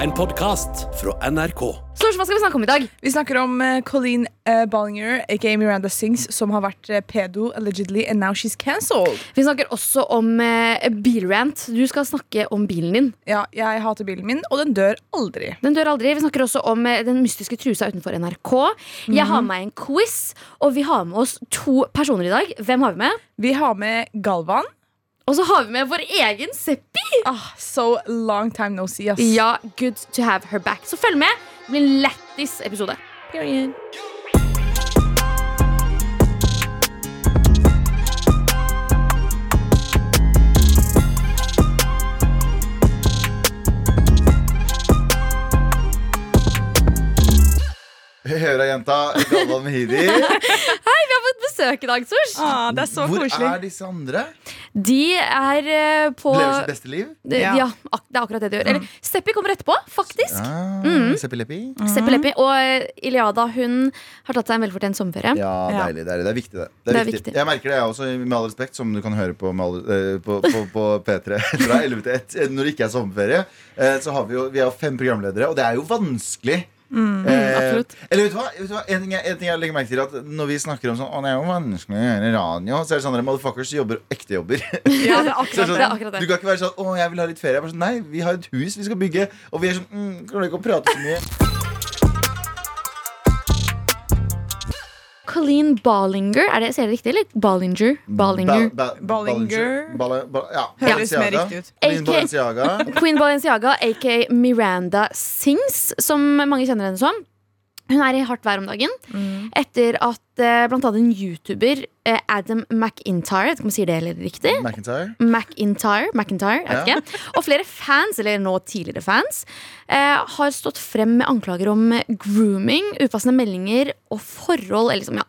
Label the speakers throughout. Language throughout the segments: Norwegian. Speaker 1: En podcast fra NRK.
Speaker 2: Sosh, hva skal vi snakke om i dag?
Speaker 3: Vi snakker om eh, Colleen eh, Ballinger, aka Miranda Sings, som har vært eh, pedo allegedly, and now she's cancelled.
Speaker 2: Vi snakker også om eh, bilrant. Du skal snakke om bilen din.
Speaker 3: Ja, jeg hater bilen min, og den dør aldri.
Speaker 2: Den dør aldri. Vi snakker også om eh, den mystiske trusa utenfor NRK. Jeg har med en quiz, og vi har med oss to personer i dag. Hvem har vi med?
Speaker 3: Vi har med Galvan.
Speaker 2: Og så har vi med vår egen Seppi.
Speaker 3: Ah, so long time no see, ass.
Speaker 2: Ja, good to have her back. Så følg med. Det blir en lættis episode.
Speaker 3: Period.
Speaker 4: Høra jenta, Galvan Mehidi.
Speaker 2: Vi har fått besøk i dag, Sosh.
Speaker 3: Ah, det er så
Speaker 4: Hvor
Speaker 3: koselig.
Speaker 4: er disse andre?
Speaker 2: De er eh, på
Speaker 4: Lever sitt beste liv?
Speaker 2: Det-
Speaker 3: Ja.
Speaker 2: ja, ak det er akkurat det de gjør. Eller Seppi kommer etterpå, faktisk.
Speaker 4: Ah, Seppi-leppi?
Speaker 2: Seppi Leppi. Og eh, Iliada hun har tatt seg en velfortjent sommerferie.
Speaker 4: Ja,
Speaker 3: Ja.
Speaker 4: deilig. deilig. Det er viktig, det. Det
Speaker 2: Det er
Speaker 4: er viktig.
Speaker 2: viktig.
Speaker 4: Jeg merker det, jeg også, med all respekt, som du kan høre på, med all, eh, på, på, på P3 fra 11 til 1 eh, når det ikke er sommerferie. eh, Så har vi jo vi har fem programledere, og det er jo vanskelig. Eh,
Speaker 2: absolutt.
Speaker 4: eller vet du hva? Vet du hva? En, ting jeg, en ting jeg legger merke til er at Når vi snakker om sånn Å, det er jo vanskelig å gjøre radio, så er det sånn at motherfuckers jobber ekte jobber.
Speaker 3: Ja, det er
Speaker 4: Så
Speaker 2: det
Speaker 3: akkurat
Speaker 4: sånn,
Speaker 3: det.
Speaker 2: er akkurat det.
Speaker 4: Du kan ikke være sånn 'Å, jeg vil ha litt ferie'. Jeg er bare sånn, Nei, vi har et hus vi skal bygge. Og vi er sånn mm, Klarer ikke å prate så mye.
Speaker 2: Colleen Ballinger, er det, sier jeg det riktig? Eller Ballinger? Ballinger.
Speaker 4: Ba- ba-
Speaker 3: Ballinger.
Speaker 4: Balla- ba- ja.
Speaker 3: Høres mer
Speaker 4: Balenciaga.
Speaker 3: riktig ut.
Speaker 4: Lin
Speaker 2: AK.
Speaker 4: Balenciaga.
Speaker 2: Queen Balenciaga, aka Miranda Sings, som mange kjenner henne som. Hun er i hardt vær om dagen etter at eh, blant annet en youtuber, eh, Adam McIntyre, jeg vet ikke om jeg sier det eller riktig,
Speaker 4: McIntyre.
Speaker 2: McIntyre, McIntyre jeg vet
Speaker 4: Ja.
Speaker 2: ikke. og flere fans, eller nå tidligere fans, eh, har stått frem med anklager om grooming, upassende meldinger og forhold eller liksom, ja,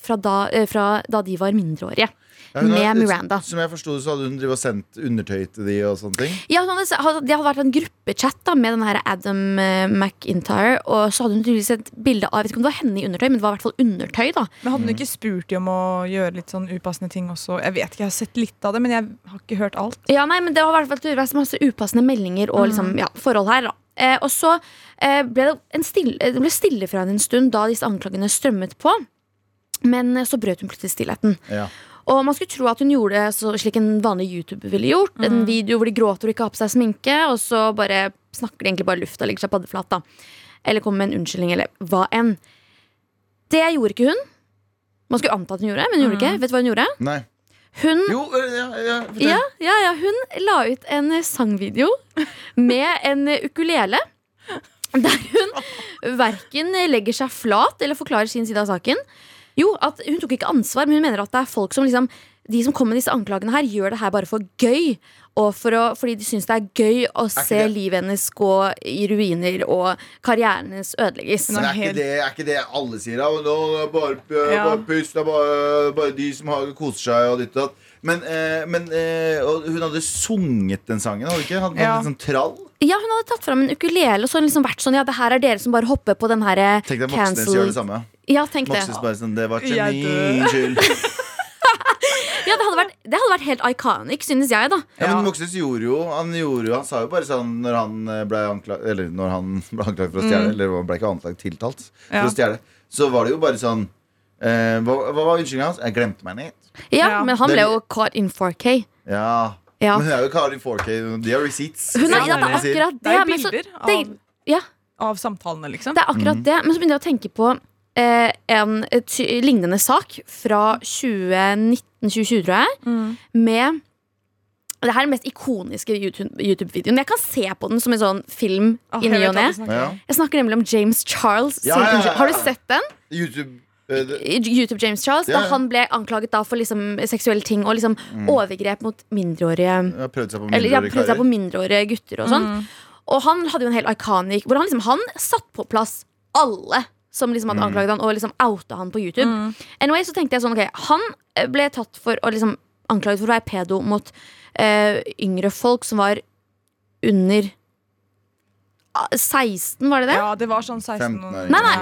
Speaker 2: fra, da, eh, fra da de var mindreårige.
Speaker 4: Ja, hun har-
Speaker 2: Med Miranda.
Speaker 4: Som jeg forsto, det, så hadde hun drivet og sendt undertøy til de og sånne ting.
Speaker 2: Ja, hun hadde, hadde- Det hadde vært en gruppechat da med den her Adam eh, McIntyre. Og så hadde hun tydeligvis et bilde av Jeg vet ikke om det var henne i undertøy, men det var i hvert fall undertøy. da
Speaker 3: Men hadde hun ikke spurt de om å gjøre litt sånn upassende ting også? Jeg vet ikke, jeg har sett litt av det, men jeg har ikke hørt alt.
Speaker 2: Ja, nei, men Det var i hvert fall tydeligvis masse upassende meldinger og liksom, ja, forhold her. da eh, Og så eh, ble det, en stille, eh, det ble stille fra henne en stund da disse anklagene strømmet på. Men eh, så brøt hun plutselig stillheten.
Speaker 4: Ja.
Speaker 2: Og man skulle tro at hun gjorde det så, slik en vanlig YouTuber ville gjort. En video hvor de gråter og ikke har på seg sminke, og så bare snakker de egentlig bare i lufta og legger seg paddeflat. da. Eller kommer med en unnskyldning, eller hva enn. Det gjorde ikke hun. Man skulle anta at hun gjorde det, men hun gjorde ikke. Vet du hva hun gjorde?
Speaker 4: Nei.
Speaker 2: Hun,
Speaker 4: Jo, øh, ja, ja, fortell.
Speaker 2: ja, ja, ja, hun la ut en eh, sangvideo med en eh, ukulele. Der hun verken legger seg flat eller forklarer sin side av saken. Jo, at Hun tok ikke ansvar, men hun mener at det er folk som liksom de som kommer med disse anklagene her, gjør det her bare for gøy. Og for å, fordi de syns det er gøy å se
Speaker 4: det-
Speaker 2: livet hennes gå i ruiner og karrieren hennes ødelegges.
Speaker 3: Nei.
Speaker 4: Men er ikke,
Speaker 3: Sånn helt-
Speaker 4: det, er ikke det alle sier? Da? Nå, det er bare, øh,
Speaker 3: Ja.
Speaker 4: bare pust, det er bare, bare de som har, koser seg og ditt og datt. Men, eh, men eh, og hun hadde sunget den sangen, hadde hun ikke? Hadde hun
Speaker 3: Ja.
Speaker 4: litt sånn trall?
Speaker 2: Ja, Hun hadde tatt fram en ukulele og så liksom vært sånn Ja, det her er dere som bare hopper på den her eh,
Speaker 4: Tenk deg Moxnes gjør det samme.
Speaker 2: Ja, tenk det.
Speaker 4: Moxnes bare sånn, det var ikke
Speaker 3: Jeg
Speaker 4: min skyld.
Speaker 2: Ja, det hadde vært, det hadde vært helt iconic, synes jeg, da.
Speaker 4: Ja,
Speaker 3: Ja.
Speaker 4: men Moxnes gjorde jo Han gjorde jo, han sa jo bare sånn når han eh, ble anklagd Eller når han ble anklagd for å
Speaker 2: Mm.
Speaker 4: stjele, eller han ble ikke anklagd, tiltalt for
Speaker 3: Ja.
Speaker 4: å stjele, så var det jo bare sånn eh, hva, hva var unnskyldningen hans? Jeg glemte meg litt.
Speaker 2: Ja,
Speaker 3: Ja.
Speaker 2: Men han ble
Speaker 4: Det-
Speaker 2: jo caught in 4K.
Speaker 4: Ja.
Speaker 2: Ja.
Speaker 4: Men hun er jo Karin 4K. De har receipts.
Speaker 2: Hun er,
Speaker 3: Ja,
Speaker 2: ja, det er
Speaker 4: Sier.
Speaker 2: akkurat det.
Speaker 3: Det er jo
Speaker 2: men så-
Speaker 3: bilder
Speaker 2: det-
Speaker 3: av-
Speaker 2: Ja,
Speaker 3: Av samtalene, liksom.
Speaker 2: det er
Speaker 4: Mm.
Speaker 2: akkurat det. Men så begynner jeg å tenke på eh, en ty lignende sak fra 2019-2020, tror jeg, med det her er den mest ikoniske YouTube- YouTube-videoen. jeg kan se på den som en sånn film
Speaker 3: Ah,
Speaker 2: i
Speaker 3: jeg
Speaker 2: ny
Speaker 3: vet
Speaker 2: og
Speaker 3: hva
Speaker 2: ne.
Speaker 3: du snakker
Speaker 4: ja.
Speaker 3: om.
Speaker 2: Jeg snakker nemlig om James Charles.
Speaker 4: Ja,
Speaker 2: sin-
Speaker 4: ja, ja, ja.
Speaker 2: Har du sett den?
Speaker 4: YouTube eh, det-
Speaker 2: YouTube James Charles,
Speaker 4: Ja, Mm.
Speaker 2: Da
Speaker 4: ja.
Speaker 2: han ble anklaget da for liksom seksuelle ting og liksom overgrep mot mindreårige
Speaker 4: hun har prøvd seg på
Speaker 2: Eller ja,
Speaker 4: mindreårige
Speaker 2: prøvde seg på
Speaker 4: karer.
Speaker 2: mindreårige gutter og sånn. Og han hadde jo en helt iconic Hvor han liksom, han satt på plass alle som liksom
Speaker 4: Mm.
Speaker 2: hadde anklaget han og liksom outa han på YouTube. Anyway, så tenkte jeg sånn, ok, Han eh, ble tatt for å liksom anklaget for å være pedo mot eh, yngre folk som var under ah, 16, var det det?
Speaker 3: Ja, det var sånn 16
Speaker 4: 15 år.
Speaker 2: Nei, nei,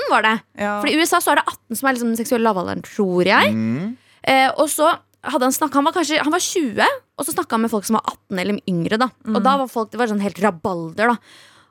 Speaker 2: 18 var det.
Speaker 3: Ja.
Speaker 2: For i USA så er det 18 som er liksom den seksuelle lavalderen, tror jeg.
Speaker 4: Mm.
Speaker 2: Eh, og så hadde han snakket, han var kanskje han var
Speaker 4: Mm.
Speaker 2: 20, og så snakka han med folk som var 18 eller yngre. da Og da var folk, det var sånn helt rabalder. da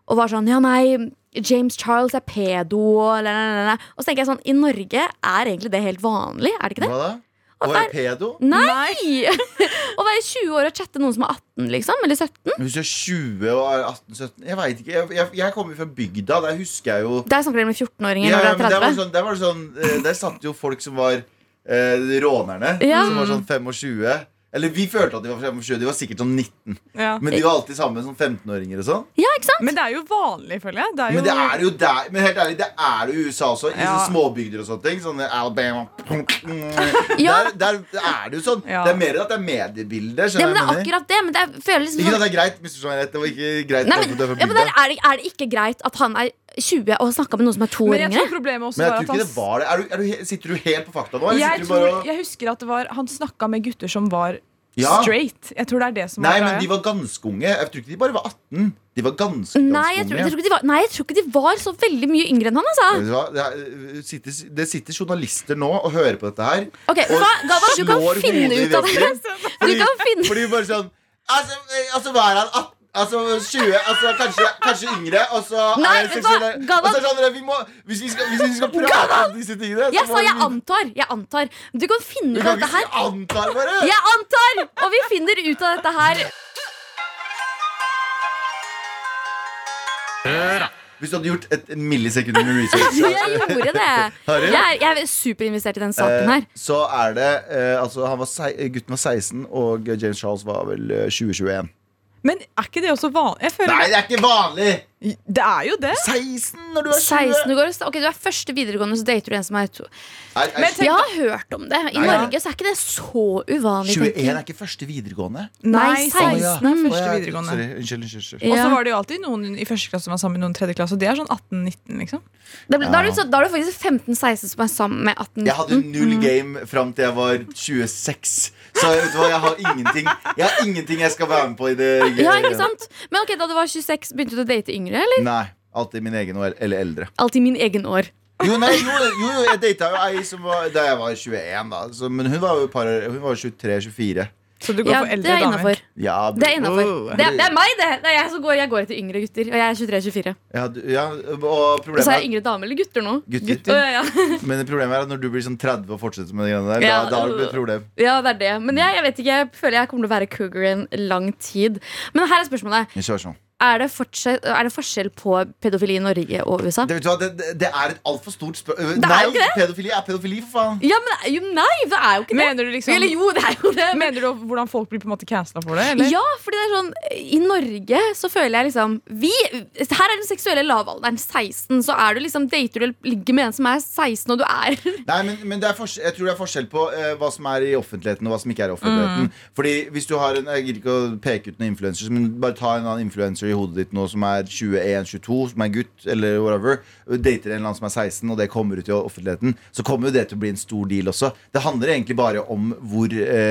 Speaker 2: og var sånn Ja, nei, James Charles er pedo, og la, la, la, la. Og så tenker jeg sånn, i Norge er egentlig det helt vanlig, er det ikke det?
Speaker 4: Hva da? Og
Speaker 2: der-
Speaker 4: er pedo?
Speaker 2: Nei! Å være 20 år og chatte noen som er 18, liksom. Eller 17.
Speaker 4: Hvis du er 20 og er 18-17 Jeg veit ikke. Jeg, jeg, jeg kommer fra bygda. Der husker jeg jo
Speaker 2: Der snakker dere med 14-åringer
Speaker 4: Ja,
Speaker 2: når
Speaker 4: ja, men
Speaker 2: dere
Speaker 4: der,
Speaker 2: er
Speaker 4: var
Speaker 2: 30.
Speaker 4: det sånn, der, var det sånn, eh, der satt jo folk som var eh, rånerne,
Speaker 2: Ja.
Speaker 4: som var sånn 25. Eller vi følte at de var 25, de var sikkert sånn 19.
Speaker 3: Ja.
Speaker 4: Men de var alltid sammen som 15-åringer og sånn.
Speaker 2: Ja, ikke sant?
Speaker 3: Men det er jo vanlig, føler jeg. Det er jo,
Speaker 4: Men det er jo der Men helt ærlig, det er det i USA også. I
Speaker 3: Ja.
Speaker 4: sånne småbygder og sånne ting. Sånne Alabama mm.
Speaker 2: Ja.
Speaker 4: der, der er det jo sånn.
Speaker 3: Ja.
Speaker 4: Det er mer at det er mediebilder.
Speaker 2: Ja, men det er
Speaker 4: skjønner jeg hva jeg mener.
Speaker 2: akkurat det. Men det er, føler liksom
Speaker 4: Ikke
Speaker 2: sånn-
Speaker 4: at det er greit, misforstå meg rett. Det var ikke greit.
Speaker 2: Nei,
Speaker 4: at
Speaker 2: men,
Speaker 4: du er fra
Speaker 2: ja, men der
Speaker 4: bygda.
Speaker 2: er, det, er det ikke greit at han er 20 og har snakka med noen som er to år
Speaker 3: men jeg
Speaker 2: yngre?
Speaker 3: tror problemet også
Speaker 4: Men jeg
Speaker 3: var
Speaker 4: tror
Speaker 3: at
Speaker 4: ikke
Speaker 3: han
Speaker 4: det var det. Er du, er du, he- sitter du helt på fakta nå? Eller
Speaker 3: jeg,
Speaker 4: sitter du bare
Speaker 3: tror,
Speaker 4: og
Speaker 3: jeg husker at det var han snakka med gutter som var
Speaker 4: Ja.
Speaker 3: straight. Jeg tror det er det som
Speaker 4: Nei,
Speaker 3: var
Speaker 4: men
Speaker 3: greia.
Speaker 4: de var ganske unge. Jeg tror ikke de bare var 18. De var ganske, ganske
Speaker 2: Nei jeg, tror, jeg
Speaker 4: unge.
Speaker 2: tror ikke de var, nei, jeg tror ikke de var så veldig mye yngre enn han, altså.
Speaker 4: Vet du hva? Det, er, øh, sitter, det sitter journalister nå og hører på dette her.
Speaker 2: Ok, vet du hva, Galvan, du kan
Speaker 4: slår
Speaker 2: finne
Speaker 4: hodet i
Speaker 2: ut av det.
Speaker 4: veggen.
Speaker 2: Du kan finne
Speaker 4: Fordi bare sånn Altså, eh, altså var han 18 Altså 20, altså kanskje, kanskje yngre Og så
Speaker 2: Nei,
Speaker 4: er det
Speaker 2: vet du hva?
Speaker 4: seksuelle-
Speaker 2: Galvan-
Speaker 4: altså, skjønner du, vi må, hvis, vi skal, hvis vi skal prate om disse tingene så
Speaker 2: Jeg
Speaker 4: må
Speaker 2: sa jeg
Speaker 4: vi-
Speaker 2: antar. Jeg antar. Du kan finne
Speaker 4: Vi
Speaker 2: ut av
Speaker 4: kan
Speaker 2: dette
Speaker 4: ikke
Speaker 2: her.
Speaker 4: si antar bare
Speaker 2: Jeg antar! Og vi finner ut av dette her.
Speaker 4: Hvis du hadde gjort et en millisekund med research
Speaker 2: Jeg gjorde det.
Speaker 4: Har du?
Speaker 2: Jeg er, jeg er superinvestert i den saken
Speaker 4: eh,
Speaker 2: her.
Speaker 4: Så er det eh, altså, han var, sei- Gutten var 16 Og James Charles var vel eh, 20-21
Speaker 3: Men er ikke det også vanlig? Jeg føler
Speaker 4: Nei, det er ikke vanlig
Speaker 3: Det er jo det.
Speaker 4: 16 når du er 20
Speaker 2: 16 år, ok, Du er første videregående, så dater du en som er to.
Speaker 4: Er- er-
Speaker 3: Men tenk-
Speaker 2: Jeg har hørt om det. I
Speaker 4: Nei, ja.
Speaker 2: Norge så er ikke det så uvanlig.
Speaker 4: 21
Speaker 2: tenker
Speaker 4: er
Speaker 2: jeg.
Speaker 4: ikke første videregående
Speaker 2: Nei,
Speaker 4: Å,
Speaker 2: 16
Speaker 4: ja.
Speaker 2: er første
Speaker 4: Å, ja,
Speaker 3: videregående.
Speaker 4: Sorry, unnskyld, unnskyld, unnskyld.
Speaker 3: Og så
Speaker 2: Ja.
Speaker 3: var det jo alltid noen i første klasse som var sammen med noen i tredje klasse. Og det er sånn 18-19, liksom.
Speaker 2: Da blir- da er det så- da er det faktisk 15-16 som er sammen med 18.
Speaker 4: Jeg hadde null game fram til jeg var 26. Så vet du hva, jeg har ingenting Jeg har ingenting jeg skal være med på i det.
Speaker 2: Ja, ikke sant? Men ok, Da du var 26, begynte du å date yngre? eller?
Speaker 4: Nei. Alltid min egen og- eller eldre.
Speaker 2: Alltid min egen år.
Speaker 4: Jo, nei, jo, jo, jo jeg data jo ei som var da jeg var 21, da. Så, men hun var jo et par, hun var 23-24.
Speaker 3: Så du går
Speaker 2: Ja,
Speaker 3: for
Speaker 2: det
Speaker 3: eldre
Speaker 2: er
Speaker 3: damer.
Speaker 2: innafor.
Speaker 4: Ja,
Speaker 2: Det er, innenfor.
Speaker 4: Oh,
Speaker 3: Wow.
Speaker 2: det, er, det er meg, det! det er jeg, som går, jeg går etter yngre gutter. Og jeg er 23-24.
Speaker 4: ja, du- ja, og
Speaker 2: Og
Speaker 4: problemet
Speaker 2: så er jeg
Speaker 4: er,
Speaker 2: yngre damer eller gutter nå.
Speaker 4: Gutter.
Speaker 2: Å, ja, ja.
Speaker 4: men problemet er at når du blir sånn 30 og fortsetter med det greiene der,
Speaker 2: Ja. øh.
Speaker 4: da, da har du et problem.
Speaker 2: ja, det er det. Men jeg, jeg vet ikke, jeg føler jeg kommer til å være cougar i en lang tid. Men her er spørsmålet.
Speaker 4: Vi kjører sånn.
Speaker 2: Er det, fortsatt, er det forskjell på pedofili i Norge og USA?
Speaker 4: Det, vet du hva, det, det- det er et altfor stort spørsmål.
Speaker 2: er
Speaker 4: Nei,
Speaker 2: jo ikke
Speaker 4: pedofili er pedofili, for faen.
Speaker 2: Ja, men jo, nei, det er jo ikke det.
Speaker 3: Mener du liksom
Speaker 2: Eller jo, det er jo det. Men,
Speaker 3: Mener du hvordan folk blir på en måte cancela for det? Eller?
Speaker 2: ja, fordi det er sånn I Norge så føler jeg liksom vi, Her er den seksuelle lavalderen 16. Så er du liksom dater du eller ligger med en som er 16, og du er
Speaker 4: Nei, men, men det er forskjell- jeg tror det er forskjell på eh, hva som er i offentligheten og hva som ikke er i offentligheten. Fordi hvis du har en, Jeg gidder ikke å peke ut noen influenser, men bare ta en annen influenser i hodet ditt nå som er 21-22, som er gutt, eller whatever, og dater en eller annen som er 16, og det kommer ut i offentligheten, så kommer jo det til å bli en stor deal også. Det handler egentlig bare om hvor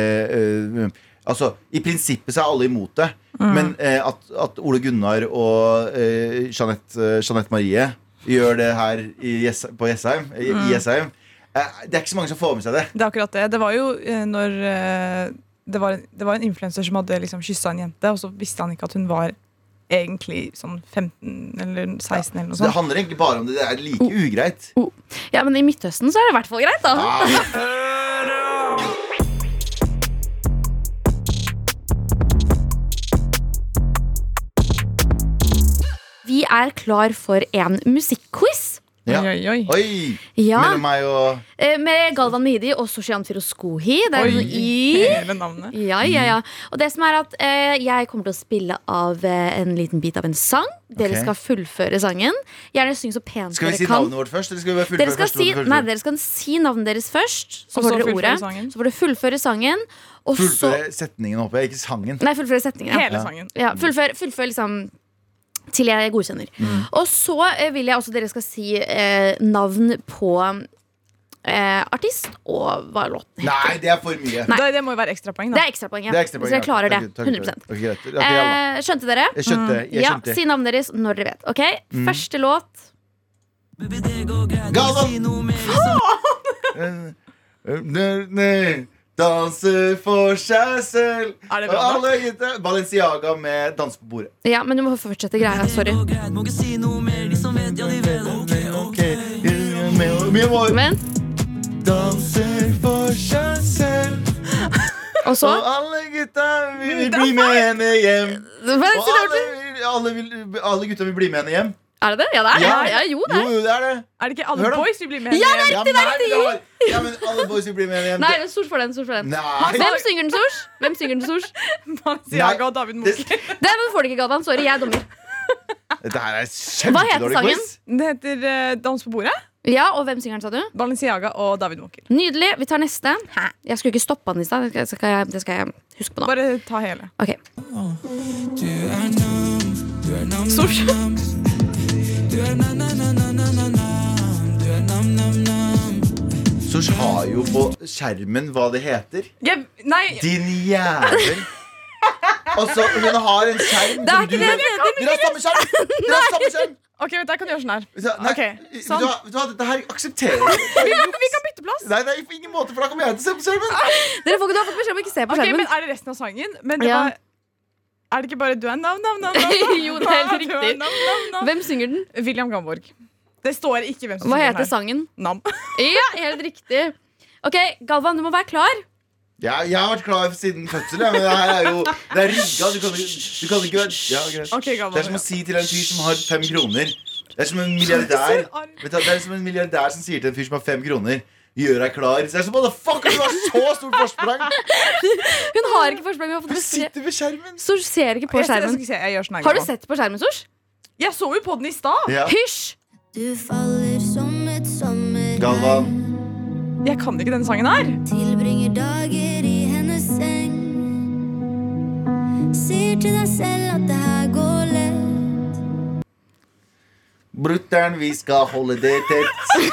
Speaker 4: eh, eh, Altså, I prinsippet så er alle imot det, men eh, at, at Ole Gunnar og eh, Jeanette, eh, Jeanette Marie gjør det her i Jess, på Jessheim, i, i Jessheim eh, Det er ikke så mange som får med seg det.
Speaker 3: Det er akkurat det. Det var jo eh, når eh, det var, det var en influenser som hadde liksom kyssa en jente, og så visste han ikke at hun var egentlig sånn 15 eller 16 eller noe
Speaker 4: Så det
Speaker 3: sånt.
Speaker 4: handler egentlig bare om det. Det er like ugreit.
Speaker 2: Oh. Ja, men i Midtøsten så er det i hvert fall greit, da.
Speaker 4: Ja.
Speaker 2: Vi er klar for en musikkquiz.
Speaker 4: Ja.
Speaker 3: Oi, oi, oi.
Speaker 4: Oi!
Speaker 2: Ja,
Speaker 4: Mellom meg og
Speaker 2: eh, Med Galvan Mehidi og Soshian Firoskohi. Det er
Speaker 3: Oi.
Speaker 2: en i
Speaker 3: Hele navnet.
Speaker 2: Ja, ja, ja. Og det som er at eh, jeg kommer til å spille av eh, en liten bit av en sang. Dere
Speaker 4: Ok.
Speaker 2: skal fullføre sangen. Gjerne syng så pent
Speaker 4: Skal vi
Speaker 2: dere
Speaker 4: si
Speaker 2: kan.
Speaker 4: navnet vårt først? Eller skal vi bare fullføre
Speaker 2: Dere skal,
Speaker 4: første
Speaker 2: si,
Speaker 4: ordet først?
Speaker 2: nei, dere skal si navnet deres først. Så
Speaker 3: Og så
Speaker 2: får dere
Speaker 3: fullføre
Speaker 2: ordet.
Speaker 3: sangen.
Speaker 2: Så får dere fullføre sangen. Og så
Speaker 4: Fullføre setningen, håper jeg. Ikke sangen.
Speaker 2: Nei, fullføre setningen. Ja.
Speaker 3: Hele sangen.
Speaker 2: Ja,
Speaker 4: Mm.
Speaker 2: fullfør, fullfør liksom til jeg godkjenner.
Speaker 4: Mm.
Speaker 2: Og så eh, vil jeg også dere skal si eh, navn på eh, artist og hva låten heter.
Speaker 4: Nei, det er for mye.
Speaker 2: Nei.
Speaker 3: Det, det må jo være ekstrapoeng,
Speaker 2: Det
Speaker 3: da.
Speaker 2: er ekstrapoenget.
Speaker 4: Det er ekstra
Speaker 2: Hvis dere klarer det. 100
Speaker 4: 100
Speaker 2: eh, Skjønte dere?
Speaker 4: Jeg skjønte. Jeg
Speaker 2: Ja,
Speaker 4: skjønte. Mm.
Speaker 2: Si navnet deres når dere vet. Ok, Første låt.
Speaker 4: Galvan! Eh, eh, Nei, Danser for seg selv.
Speaker 3: Er det bra, da?
Speaker 4: Alle gutter. Balenciaga med Dans på bordet.
Speaker 2: Ja, men du må fortsette greia. Sorry.
Speaker 4: Okay. Vi må
Speaker 2: Men,
Speaker 4: danser for seg selv.
Speaker 2: og så
Speaker 4: Og alle gutta vil bli med henne hjem.
Speaker 2: Men,
Speaker 4: Og alle, vil- alle, vil, alle gutta vil bli med henne hjem.
Speaker 2: Er det det? Ja, det er det.
Speaker 4: Ja.
Speaker 2: Ja, jo, det er
Speaker 4: Jo,
Speaker 2: det.
Speaker 4: jo, det er det.
Speaker 3: Er det ikke alle
Speaker 4: Hør da.
Speaker 3: boys vi blir med?
Speaker 2: Ja,
Speaker 3: hjem?
Speaker 4: Ja,
Speaker 2: det er
Speaker 4: nei,
Speaker 2: riktig.
Speaker 4: det er- Ja, men alle boys vil bli med henne hjem.
Speaker 2: Nei, men stort for den. Stort for den.
Speaker 4: Nei.
Speaker 2: Hvem synger den, Sosh? Hvem synger den, Sosh?
Speaker 3: Balenciaga og David
Speaker 4: Det,
Speaker 3: Mosley.
Speaker 2: Den får du ikke, Galvan. Sorry, jeg er dommer.
Speaker 4: dette her er
Speaker 2: Hva heter
Speaker 4: kjempedårlig
Speaker 2: sangen?
Speaker 4: quiz.
Speaker 3: Det heter eh, Dans på bordet.
Speaker 2: Ja, og hvem synger den, sa du?
Speaker 3: Balenciaga og David Mokel.
Speaker 2: Nydelig. Vi tar neste. Jeg skulle ikke stoppa den i stad. Det, skal jeg- det skal jeg huske på nå.
Speaker 3: Bare ta hele.
Speaker 2: Ok.
Speaker 3: Sosh.
Speaker 4: Sosh har jo på skjermen hva det heter.
Speaker 3: Jeg, nei,
Speaker 4: Din jævel. Altså, hun har en skjerm
Speaker 2: Det er
Speaker 4: som
Speaker 2: ikke det det heter.
Speaker 4: Dere har samme skjerm! Dere har samme skjerm!
Speaker 3: ok, vet du, jeg kan gjøre sånn her.
Speaker 4: Så, nei,
Speaker 3: Ok,
Speaker 4: vet
Speaker 3: sånn.
Speaker 4: du hva- vet du hva, dette her aksepterer jeg.
Speaker 3: Vi, vi kan bytte plass.
Speaker 4: Nei, nei, på ingen måte, for da kommer jeg til å se på skjermen.
Speaker 2: Dere får ikke, du har fått beskjed om å ikke se på
Speaker 3: Ok, men
Speaker 2: skjermen.
Speaker 3: Er det resten av sangen? Men det
Speaker 2: Ja.
Speaker 3: var, er det ikke bare du er nam, nam, nam?
Speaker 2: Jo, det er helt riktig.
Speaker 3: riktig.
Speaker 2: Hvem synger den?
Speaker 3: William Gamborg. Det står ikke hvem som
Speaker 2: Hva
Speaker 3: synger
Speaker 2: heter
Speaker 3: den her.
Speaker 2: sangen?
Speaker 3: Nam.
Speaker 2: Ja, helt riktig. Ok, Galvan, du må være klar.
Speaker 4: Jeg, jeg har vært klar siden fødsel, jeg, men det her er jo Det er rigga. Du kan, ikke- du kan ikke være ja, greit.
Speaker 3: Ok, gammel,
Speaker 4: Det er som
Speaker 3: ja.
Speaker 4: å si til en fyr som har fem kroner Det er som en milliardær Vet du, hva, Det er som en milliardær som sier til en fyr som har fem kroner Gjør deg klar. Så jeg er sånn, Motherfucker, du har så stort forsprang!
Speaker 2: Hun har ikke forsprang. Vi har fått
Speaker 4: Du
Speaker 2: beskjed.
Speaker 4: sitter ved skjermen.
Speaker 2: Sosh ser ikke på
Speaker 3: Jeg, jeg,
Speaker 2: skjermen.
Speaker 3: skal se, jeg gjør sånn her.
Speaker 2: Har du
Speaker 3: gammel.
Speaker 2: sett på skjermen, Sosh?
Speaker 3: Jeg så jo på den i stad.
Speaker 4: Ja.
Speaker 2: Hysj!
Speaker 5: Du faller som et sommerregn.
Speaker 4: Galvan.
Speaker 3: Jeg kan ikke denne sangen her.
Speaker 5: Tilbringer dager i hennes seng. Sier til deg selv at det her går lett.
Speaker 4: Brutter'n, vi skal holde det tett.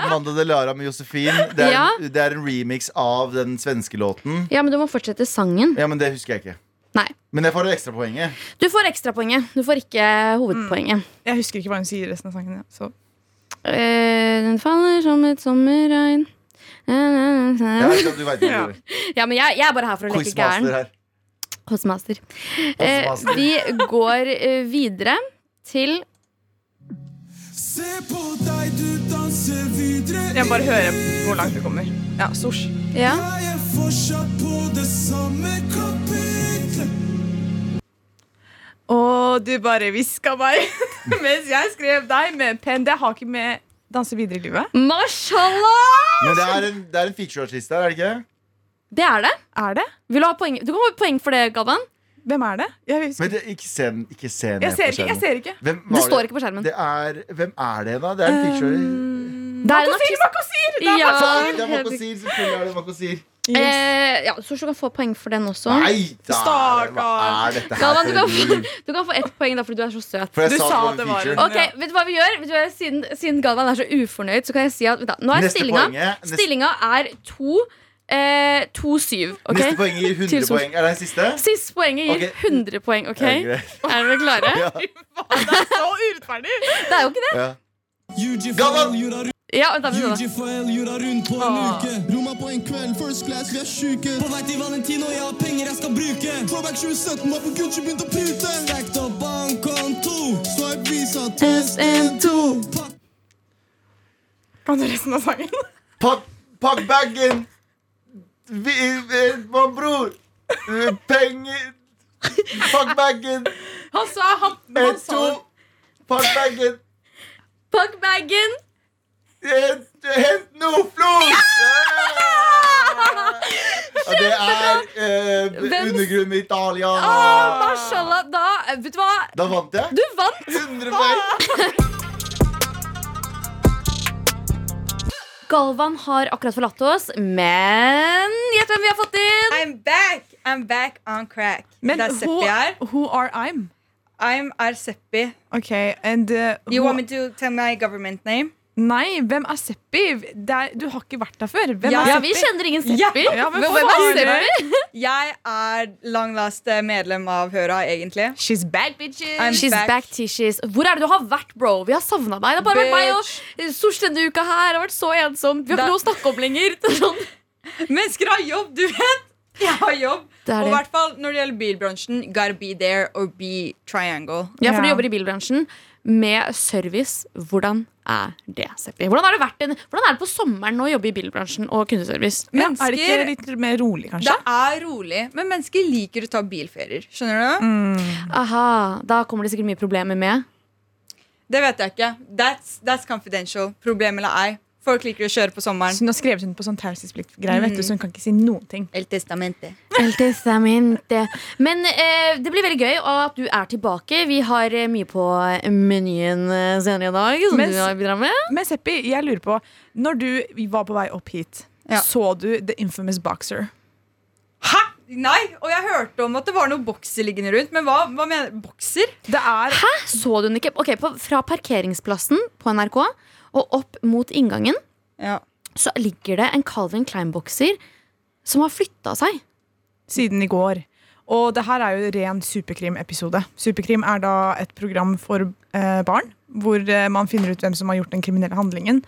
Speaker 4: Amanda Delara med Josefin. Det er,
Speaker 2: Ja.
Speaker 4: en, det er en remix av den svenske låten.
Speaker 2: Ja, men du må fortsette sangen.
Speaker 4: Ja, men Det husker jeg ikke.
Speaker 2: Nei.
Speaker 4: Men jeg får det ekstrapoenget.
Speaker 2: Du får ekstrapoenget. Du får ikke hovedpoenget.
Speaker 3: Jeg husker ikke hva hun sier i resten av sangen. Ja. Så.
Speaker 2: Eh, den faller som et sommerregn.
Speaker 4: Jeg vet at du vet
Speaker 3: Ja.
Speaker 4: hva du gjør.
Speaker 2: Ja, men jeg, jeg er bare her for å leke
Speaker 4: Quizmaster
Speaker 2: gæren.
Speaker 4: her.
Speaker 2: Quizmaster. Eh,
Speaker 4: Quizmaster.
Speaker 2: vi går eh, videre til
Speaker 6: Se på deg, du danser videre.
Speaker 3: Jeg bare hører hvor langt det kommer. Ja, Sosh.
Speaker 2: Ja.
Speaker 6: Jeg er fortsatt på det samme kapitlet.
Speaker 3: Og du bare hviska meg mens jeg skrev deg med en penn. Det har ikke med danse videre i livet.
Speaker 2: Mashallah!
Speaker 4: Men det er en, det er en featureartist her, er det ikke?
Speaker 2: Det er det.
Speaker 3: Er det?
Speaker 2: Vil du ha poeng? Du kan få poeng for det, Galvan.
Speaker 3: Hvem er det? Jeg, husker.
Speaker 4: Men det, ikke se den ikke se ned
Speaker 3: jeg ser
Speaker 4: på
Speaker 3: ikke. jeg
Speaker 4: skjermen.
Speaker 3: ser ikke
Speaker 4: Hvem
Speaker 2: Det
Speaker 4: var
Speaker 2: står ikke på skjermen.
Speaker 4: Det er, hvem er det, da? Det er en feature...
Speaker 2: Det er en
Speaker 3: Makosir,
Speaker 2: artist.
Speaker 3: makosir! Det er
Speaker 2: Ja,
Speaker 4: Faen, det er
Speaker 2: helt
Speaker 4: Makosir, selvfølgelig er det Makosir.
Speaker 3: makosir. Yes.
Speaker 2: Eh, ja, så du kan få poeng for den også.
Speaker 4: Nei, da, hva
Speaker 3: Stakkar.
Speaker 4: er dette her
Speaker 2: Galvan, du kan,
Speaker 4: for en
Speaker 2: få,
Speaker 4: liv?
Speaker 2: du kan få ett poeng da, fordi du er så søt.
Speaker 4: For jeg
Speaker 3: Du
Speaker 4: sa
Speaker 3: sa
Speaker 4: det
Speaker 3: det
Speaker 4: var
Speaker 3: var
Speaker 4: en feature.
Speaker 3: en-
Speaker 2: Ok, vet du hva vi gjør? Vet du hva, siden, siden Galvan er så ufornøyd, så kan jeg si at vet du, Nå er
Speaker 4: Neste
Speaker 2: stillinga
Speaker 4: poenget- neste-
Speaker 2: Stillinga er 2-7. Eh, 2-7, ok?
Speaker 4: Neste poeng gir 100
Speaker 2: Til Sol-
Speaker 4: poeng. Er det den siste?
Speaker 2: Siste poenget gir
Speaker 4: Ok.
Speaker 2: 100 poeng, OK?
Speaker 4: Ja, greit.
Speaker 2: Er dere klare?
Speaker 4: Ja.
Speaker 3: Det er så urettferdig!
Speaker 2: Det er jo ikke det.
Speaker 4: Ja. Galvan!
Speaker 6: UG4L jura rundt,
Speaker 2: Ja, vent da, vent da.
Speaker 6: UG4L jura rundt på en uke. Roma på en kveld, first class, vi er sjuke. Ah. På vei til Valentino, jeg har penger jeg skal bruke. Throwback 2017, var på Gucci, begynte å pute. Stacked opp bankkonto. Swipe visa, test and two.
Speaker 3: Kan du resten av sangen?
Speaker 4: Pakk pakk bagen! Vi, eh, vår bror! Eh, Penger! Pakk bagen!
Speaker 3: Han sa han,
Speaker 4: En,
Speaker 3: han sa
Speaker 4: to! Pakk bagen!
Speaker 2: Pakk bagen!
Speaker 4: Hent, hent noe flot! Ja, det er eh,
Speaker 2: Hvem-
Speaker 4: undergrunnen i Italia.
Speaker 2: Ah, Mashallah, da eh, Vet du hva?
Speaker 4: Da vant jeg.
Speaker 2: Du Ah! vant!
Speaker 4: 100 poeng.
Speaker 2: Galvan har akkurat forlatt oss, men gjett hvem vi har fått inn?
Speaker 7: I'm back! I'm back on crack.
Speaker 3: Men
Speaker 7: That's
Speaker 3: who,
Speaker 7: Seppi her.
Speaker 3: who are I'm?
Speaker 7: I'm er Seppi.
Speaker 3: Ok, and uh,
Speaker 7: You
Speaker 3: who-
Speaker 7: want me to tell my government name?
Speaker 3: Nei, hvem er Seppi? Det er, du har ikke vært der før. Hvem
Speaker 7: Ja.
Speaker 3: er
Speaker 2: Ja,
Speaker 3: Seppi?
Speaker 2: vi kjenner ingen Seppi.
Speaker 3: Ja, men
Speaker 2: Hvem
Speaker 3: faen, eh,
Speaker 2: er
Speaker 3: det-
Speaker 2: Seppi?
Speaker 7: Jeg er langlaste medlem av Høra, egentlig.
Speaker 3: She's back, bitches!
Speaker 7: I'm
Speaker 2: She's back, tishes. Hvor er det du har vært, bro? Vi har savna deg. Det har bare vært meg og
Speaker 7: Bitch.
Speaker 2: Sosh denne uka her. Jeg har vært så ensom. Vi har
Speaker 7: Da-
Speaker 2: ikke noe å snakke om lenger. Sånn.
Speaker 7: Mennesker har jobb, du vet! Jeg har jobb.
Speaker 2: Det er
Speaker 7: Og i
Speaker 2: det.
Speaker 7: hvert fall når det gjelder bilbransjen, gotta be there or be triangle.
Speaker 2: Ja, for du
Speaker 3: Ja.
Speaker 2: jobber i bilbransjen med service. Hvordan er det, Seppi? Hvordan har det vært en, hvordan er det på sommeren å jobbe i bilbransjen og kundeservice?
Speaker 3: Men er det
Speaker 7: Mennesker-
Speaker 3: ikke litt mer rolig, kanskje?
Speaker 7: Det er rolig, men mennesker liker å ta bilferier. Skjønner du?
Speaker 3: Mm.
Speaker 2: Aha, Da kommer det sikkert mye problemer med.
Speaker 7: Det vet jeg ikke. That's, that's confidential. Problem eller ei. Folk liker å kjøre på sommeren.
Speaker 3: Så hun har skrevet under på sånn taushetspliktgreie, vet du,
Speaker 7: Mm.
Speaker 3: så hun kan ikke si noen ting.
Speaker 7: El testamente.
Speaker 2: El testamente. Men eh, det blir veldig gøy at du er tilbake. Vi har eh, mye på menyen eh, senere i dag. Som
Speaker 3: Mens-
Speaker 2: du har bidratt med
Speaker 3: Men Seppi, jeg lurer på Når du var på vei opp hit,
Speaker 7: Ja.
Speaker 3: så du The Infamous Boxer?
Speaker 7: Hæ?! Nei! Og jeg hørte om at det var noe bokser liggende rundt, men hva, hva mener Bokser?
Speaker 3: Det er
Speaker 2: Hæ? Så du den ikke? Ok, på, Fra parkeringsplassen på NRK og opp mot inngangen
Speaker 7: Ja.
Speaker 2: så ligger det en Calvin Klein-bokser som har flytta seg.
Speaker 3: siden i går. Og det her er jo ren superkrim-episode. Superkrim er da et program for eh, barn, hvor eh, man finner ut hvem som har gjort den kriminelle handlingen.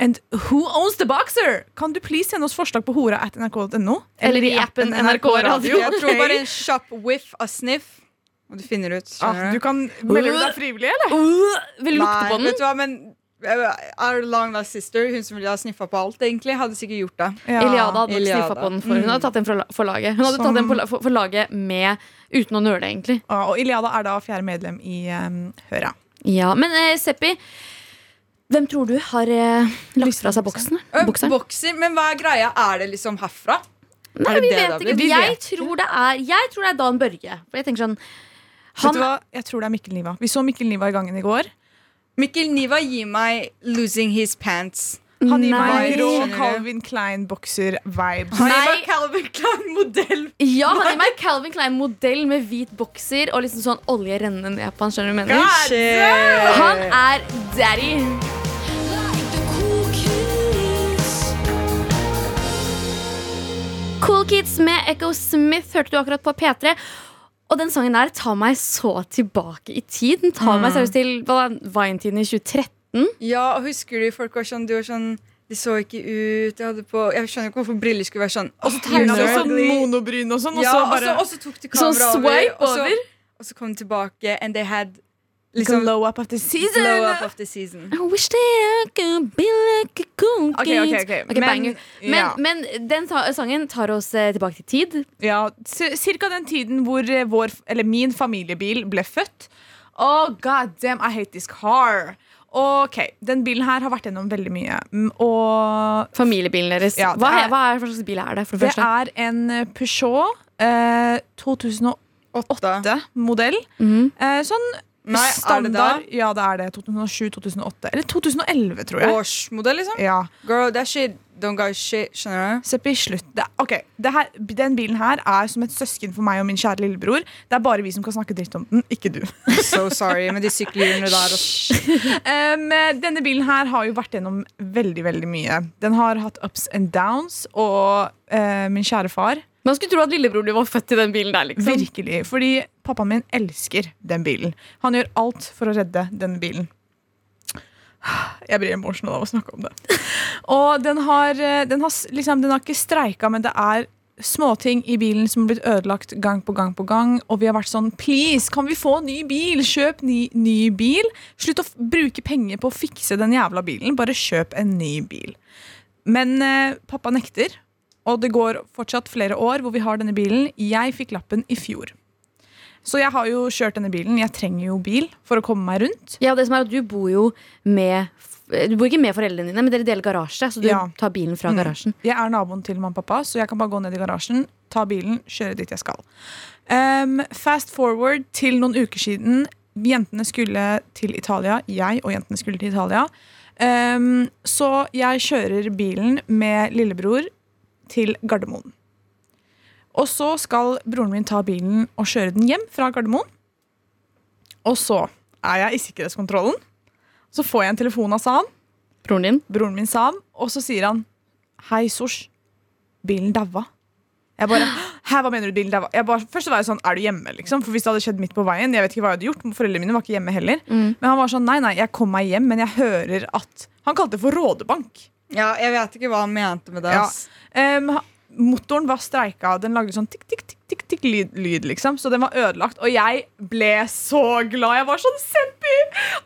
Speaker 3: And who owns the boxer? Kan du please sende oss forslag på hora at nrk.no?
Speaker 2: Eller i appen NRK Radio.
Speaker 7: Jeg tror bare en kjapp whiff av sniff, og du finner ut.
Speaker 3: Ah,
Speaker 7: Skjønner
Speaker 3: du
Speaker 7: du?
Speaker 3: kan melde deg frivillig, eller?
Speaker 2: Uh, vil du lukte
Speaker 7: Nei,
Speaker 2: på den?
Speaker 7: Vet du hva, men eh, Our long lost sister, hun som ville ha sniffa på alt, egentlig, hadde sikkert gjort det.
Speaker 3: Ja.
Speaker 2: Eliada hadde nok
Speaker 7: Eliada.
Speaker 2: sniffa på den, for hun hadde tatt den for, la- for laget. Hun hadde
Speaker 3: Som-
Speaker 2: tatt den på la- for, for laget med, uten å nøle, egentlig.
Speaker 3: Ah, og Iliada er da fjerde medlem i eh, Høra.
Speaker 2: Ja, Men eh, Seppi, hvem tror du har eh, lagt fra seg boksen?
Speaker 7: Eh,
Speaker 2: bokseren?
Speaker 7: Bokser, men hva er greia? Er det liksom herfra?
Speaker 2: Nei,
Speaker 7: Er det
Speaker 2: vi
Speaker 7: det det har
Speaker 2: vet
Speaker 7: blitt?
Speaker 2: ikke.
Speaker 7: Vi
Speaker 2: Jeg
Speaker 7: vet
Speaker 2: tror det er, jeg tror det er Dan Børge. For jeg tenker sånn
Speaker 3: Vet du
Speaker 2: han,
Speaker 3: hva? Jeg tror det er Mikkel Niva. Vi så Mikkel Niva i gangen i går.
Speaker 7: Mikkel Niva gir meg 'Losing His Pants'.
Speaker 3: Han gir meg
Speaker 2: Nei.
Speaker 3: grå
Speaker 7: Skjønner du?
Speaker 3: Calvin Klein-bokser-vibes.
Speaker 7: Han gir
Speaker 2: Nei.
Speaker 7: meg Calvin Klein-modell.
Speaker 2: Ja, han gir meg Calvin Klein-modell med hvit bokser og liksom sånn olje rennende ned på han. Skjønner du hva jeg mener? Han er daddy. Cool Kids med Echo Smith hørte du akkurat på P3. Og den sangen der tar meg så tilbake i tid. Den tar
Speaker 3: Mm.
Speaker 2: meg seriøst til hva da, Vine-tiden i 2013.
Speaker 7: Ja, og husker du folk var sånn Du var sånn De så ikke ut. Jeg, hadde på, jeg skjønner ikke hvorfor briller skulle være sånn. Og så
Speaker 3: Hun
Speaker 7: tegnet
Speaker 3: hadde
Speaker 7: du
Speaker 3: sånn monobryn og sånn, og
Speaker 7: Ja,
Speaker 3: så
Speaker 7: og
Speaker 3: bare
Speaker 7: så, og så tok de
Speaker 2: Sånn
Speaker 7: kameraet
Speaker 2: swipe
Speaker 7: og så-
Speaker 2: over.
Speaker 7: Og så kom de tilbake, and they had
Speaker 3: liksom,
Speaker 7: liksom
Speaker 3: Glow up after season!
Speaker 7: Blow up of the season.
Speaker 2: I wish that I could be like a cool
Speaker 3: Ok,
Speaker 2: kid.
Speaker 3: ok, ok.
Speaker 2: Ok,
Speaker 3: Men-
Speaker 2: banger. Men,
Speaker 3: ja.
Speaker 2: men den ta sangen tar oss eh, tilbake til tid.
Speaker 3: Ja, c- cirka den tiden hvor eh, vår, eller min familiebil ble født. Oh, god damn, I hate this car. Ok, Den bilen her har vært gjennom veldig mye. Mm, Og
Speaker 2: Familiebilen deres.
Speaker 3: Ja, det
Speaker 2: hva,
Speaker 3: er-
Speaker 2: er, hva, er, hva slags bil er det? for det
Speaker 3: det
Speaker 2: første?
Speaker 3: er en eh, Peugeot eh, 2008 modell. Eh, sånn
Speaker 7: Nei, er det da?
Speaker 3: standard Ja, det er det. 2007-2008. Eller 2011, tror jeg.
Speaker 7: Årsmodell, liksom.
Speaker 3: Ja.
Speaker 7: Girl, that shit don't got shit. Skjønner du?
Speaker 3: Seppi, slutt. Det, ok, det her, Den bilen her er som et søsken for meg og min kjære lillebror. Det er bare vi som kan snakke dritt om den, ikke du.
Speaker 7: So sorry med de sykkelhjulene der. ass.
Speaker 3: Um, denne bilen her har jo vært gjennom veldig veldig mye. Den har hatt ups and downs, og eh, min kjære far
Speaker 2: Man skulle tro at lillebror din var født i den bilen der. liksom
Speaker 3: Virkelig. Fordi pappaen min elsker den bilen. Han gjør alt for å redde denne bilen. Jeg blir emotional av å snakke om det. Og den har, eh, den har, s- liksom, den har ikke streika, men det er småting i bilen som har blitt ødelagt gang på gang på gang. Og vi har vært sånn Please, kan vi få ny bil? Kjøp ny, ny bil. Slutt å f bruke penger på å fikse den jævla bilen. Bare kjøp en ny bil. Men eh, pappa nekter, og det går fortsatt flere år hvor vi har denne bilen. Jeg fikk lappen i fjor. Så jeg har jo kjørt denne bilen. Jeg trenger jo bil for å komme meg rundt.
Speaker 2: Ja, og det som er at Du bor jo med Du bor ikke med foreldrene dine, men dere deler garasje. Så du
Speaker 3: Ja.
Speaker 2: tar bilen fra garasjen.
Speaker 3: Mm. Jeg er naboen til mamma og pappa, så jeg kan bare gå ned i garasjen, ta bilen, kjøre dit jeg skal. Ehm, fast forward til noen uker siden. Jentene skulle til Italia. Jeg og jentene skulle til Italia. Ehm, så jeg kjører bilen med lillebror til Gardermoen. Og så skal broren min ta bilen og kjøre den hjem fra Gardermoen. Og så er jeg i sikkerhetskontrollen. Så får jeg en telefon av San
Speaker 2: Broren din.
Speaker 3: broren min sa han, og så sier han Hei, Sosh, bilen daua. Jeg bare, Hæ, hva mener du bilen daua? Jeg bare, først så var jeg sånn, er du hjemme? liksom? For hvis det hadde skjedd midt på veien, jeg vet ikke hva jeg hadde gjort, foreldrene mine var ikke hjemme heller. Men han var sånn, nei, nei, jeg kom meg hjem, men jeg hører at Han kalte det for rådebank.
Speaker 7: Ja, jeg vet ikke hva han mente med det.
Speaker 3: Ja.
Speaker 7: ass.
Speaker 3: Em, ha- motoren var streika. Den lagde sånn tikk, tikk, tikk, tikk, tikk lyd, lyd, liksom. Så den var ødelagt. Og jeg ble så glad. Jeg var sånn Seppi!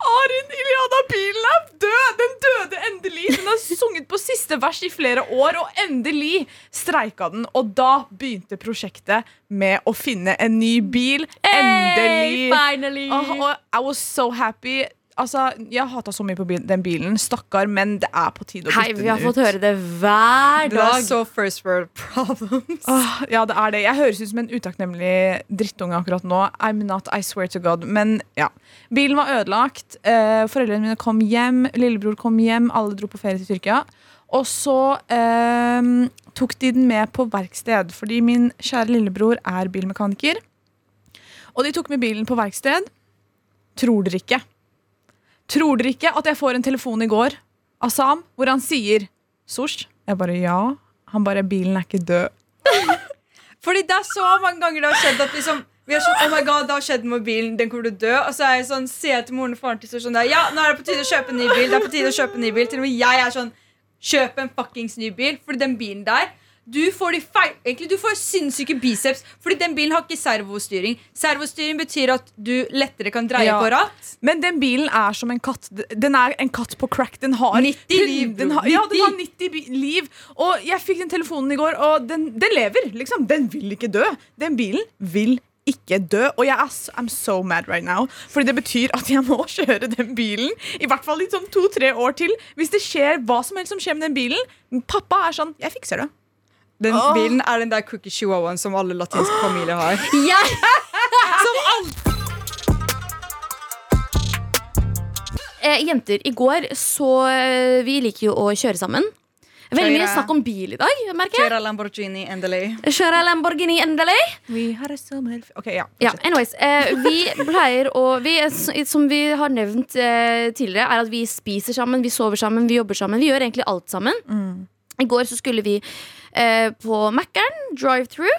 Speaker 3: Arin Iliana, bilen er død! Den døde endelig! Den har sunget på siste vers i flere år, og endelig streika den. Og da begynte prosjektet med å finne en ny bil. Endelig!
Speaker 2: Finally!
Speaker 3: Åh, og I was so happy. Altså, Jeg hata så mye på bil- den bilen. Stakkar, men det er på tide å bytte
Speaker 2: Hei,
Speaker 3: den ut.
Speaker 2: vi har fått høre det hver
Speaker 7: Det er
Speaker 2: dag.
Speaker 7: så first world problems.
Speaker 3: Åh, ja, det er det. Jeg høres ut som en utakknemlig drittunge akkurat nå. I'm not, I swear to God. Men ja. Bilen var ødelagt. Eh, foreldrene mine kom hjem. Lillebror kom hjem. Alle dro på ferie til Tyrkia. Og så eh, tok de den med på verksted, fordi min kjære lillebror er bilmekaniker. Og de tok med bilen på verksted. Tror dere ikke? Tror dere ikke at jeg får en telefon i går av Sam, hvor han sier Sosh? Jeg bare ja. Han bare bilen er ikke død.
Speaker 7: Fordi det er så mange ganger det har skjedd at liksom vi er sånn, oh my god, det har skjedd med bilen, den kommer til å dø. Og så er jeg sånn, ser jeg til moren og faren til så sånn der, ja, nå er det på tide å kjøpe en ny bil. Det er på tide å kjøpe en ny bil. Til og med jeg er sånn, kjøp en fuckings ny bil, fordi den bilen der, du får de feil, egentlig du får sinnssyke biceps, fordi den bilen har ikke servostyring. Servostyring betyr at du lettere kan dreie
Speaker 3: Ja.
Speaker 7: på ratt.
Speaker 3: Men den bilen er som en katt. Den er en katt på crack. Den har
Speaker 7: 90
Speaker 3: hun-
Speaker 7: liv, bro.
Speaker 3: Den har, ja, den har
Speaker 7: 90.
Speaker 3: 90 bi- liv. Og jeg fikk den telefonen i går, og den, den lever. liksom. Den vil ikke dø. Den bilen vil ikke dø. Og jeg er, s- I'm so mad right now. Fordi det betyr at jeg må kjøre den bilen i hvert fall i sånn to-tre år til. Hvis det skjer hva som helst som skjer med den bilen. Pappa er sånn Jeg fikser det.
Speaker 7: Den bilen er den der cookie chihuahuaen som alle latinske familier har.
Speaker 2: Jeg Eh, jenter, i går så eh, Vi liker jo å kjøre sammen. Veldig mye
Speaker 7: Kjøre.
Speaker 2: snakk om bil i dag, merker jeg.
Speaker 7: Kjører Lamborghini, endelig.
Speaker 2: Kjøre Lamborghini endelig.
Speaker 3: We had a summer Ok, ja.
Speaker 2: Ja, anyways, eh, vi pleier å vi, eh, Som vi har nevnt eh, tidligere, er at vi spiser sammen, vi sover sammen, vi jobber sammen. Vi gjør egentlig alt sammen. I går så skulle vi eh, på Mækkern, drive-through,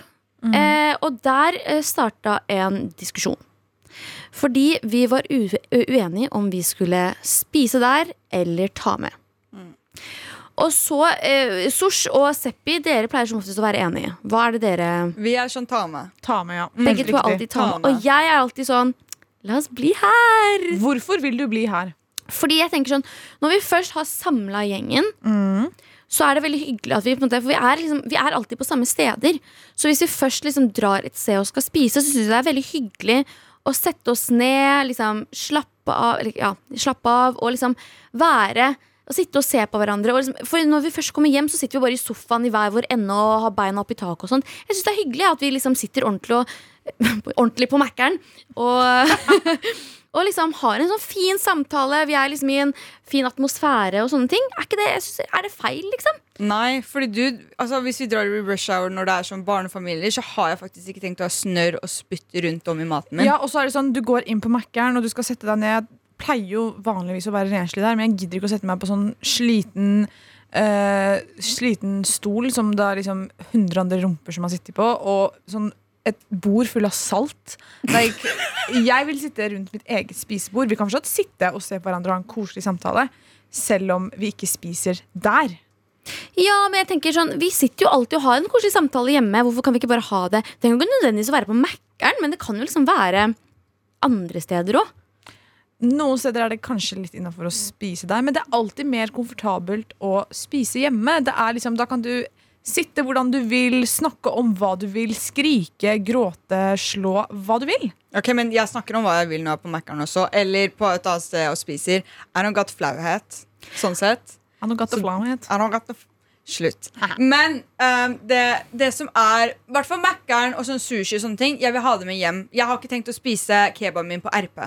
Speaker 2: eh, og der eh, starta en diskusjon. Fordi vi var u uenige om vi skulle spise der eller ta med. Og så, eh, Sosh og Seppi, dere pleier som oftest å være enige. Hva er det dere
Speaker 7: Vi er sånn ta med.
Speaker 3: Ta med, ja. Mm,
Speaker 2: begge to er alltid ta med. Og jeg er alltid sånn La oss bli her.
Speaker 3: Hvorfor vil du bli her?
Speaker 2: Fordi jeg tenker sånn Når vi først har samla gjengen, så er det veldig hyggelig at vi på en måte For vi er, liksom, vi er alltid på samme steder. Så hvis vi først liksom drar et sted og skal spise, så syns jeg det er veldig hyggelig å sette oss ned, liksom slappe av, eller, ja, slappe av og liksom være og sitte og se på hverandre. Og liksom, for når vi først kommer hjem, så sitter vi bare i sofaen i hver vår ende og har beina opp i taket og sånt. Jeg syns det er hyggelig at vi liksom sitter ordentlig, og, ordentlig på Mækkern og og liksom har en sånn fin samtale. Vi er liksom i en fin atmosfære og sånne ting. Er, ikke det, jeg synes, er det feil, liksom?
Speaker 7: Nei, fordi du, altså hvis vi drar i rush hour når det er sånn barnefamilier, så har jeg faktisk ikke tenkt å ha snørr og spytt rundt om i maten min.
Speaker 3: Ja, og så er det sånn, Du går inn på Mækkern og du skal sette deg ned. Jeg pleier jo vanligvis å være renslig der, men jeg gidder ikke å sette meg på sånn sliten eh, Sliten stol som det er liksom 100 andre rumper som har sittet på, og sånn et bord full av salt. Like, jeg vil sitte rundt mitt eget spisebord. Vi kan fortsatt sitte og se på hverandre og ha en koselig samtale, selv om vi ikke spiser der.
Speaker 2: Ja, men jeg tenker sånn, Vi sitter jo alltid og har en koselig samtale hjemme. Hvorfor kan vi ikke bare ha det? Det trenger jo ikke nødvendigvis å være på Mækkern, men det kan jo liksom være andre steder òg.
Speaker 3: Noen steder er det kanskje litt innafor å spise der, men det er alltid mer komfortabelt å spise hjemme. Det er liksom, da kan du sitte hvordan du vil, snakke om hva du vil, skrike, gråte, slå hva du vil.
Speaker 7: Ok, Men jeg snakker om hva jeg vil når jeg er på Mækkern også, eller på et annet sted og spiser. I don't got flauhet. Sånn sett.
Speaker 3: Han har gått og flammet.
Speaker 7: I don't got the f Slutt. Men ehm, det, det som er I hvert fall Mækkern og sånn sushi og sånne ting, jeg vil ha det med hjem. Jeg har ikke tenkt å spise kebaben min på RP.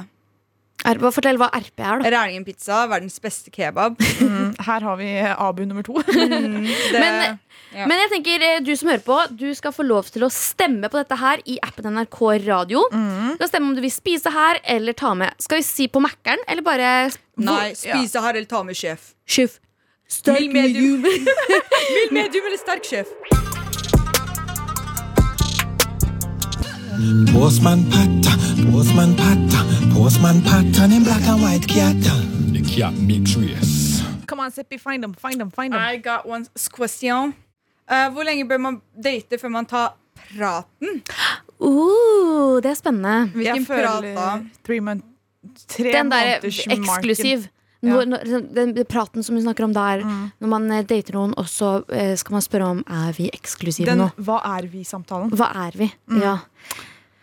Speaker 2: Fortell hva RP er, da.
Speaker 7: Rælingen pizza, verdens beste kebab.
Speaker 3: mm, Her har vi eh, Abu nummer to.
Speaker 7: Det,
Speaker 3: eh,
Speaker 2: Men-
Speaker 7: Ja.
Speaker 2: Men jeg tenker, eh, du som hører på, du skal få lov til å stemme på dette her i appen NRK Radio. Du kan stemme om du vil spise her eller ta med. Skal vi si på Mækkern, eller bare
Speaker 7: nei,
Speaker 3: Hvor- ja.
Speaker 7: spise her eller ta med sjef.
Speaker 2: Sjef. Sterk
Speaker 7: Mild medium.
Speaker 2: medium.
Speaker 7: Mild medium eller sterk sjef?
Speaker 8: Postman Pata, Postman Pata, Postman Pata, den black and white cat.
Speaker 6: Ikke jeg, min
Speaker 3: Come on, Seppi, find them, find them, find them.
Speaker 7: I got one question. Eh, hvor lenge bør man date før man tar praten?
Speaker 2: Uh, det er spennende.
Speaker 7: Hvilken
Speaker 3: Jeg
Speaker 7: prat da?
Speaker 3: føler three month, tre
Speaker 2: Den der
Speaker 3: måneders marken.
Speaker 2: eksklusiv.
Speaker 3: Ja. Mm.
Speaker 2: Når, når, den, den praten som hun snakker om der, når man eh, dater noen, og så eh, skal man spørre om er vi eksklusive
Speaker 3: Den Mm.
Speaker 2: nå.
Speaker 3: hva er vi-samtalen.
Speaker 2: Hva er vi? Ja.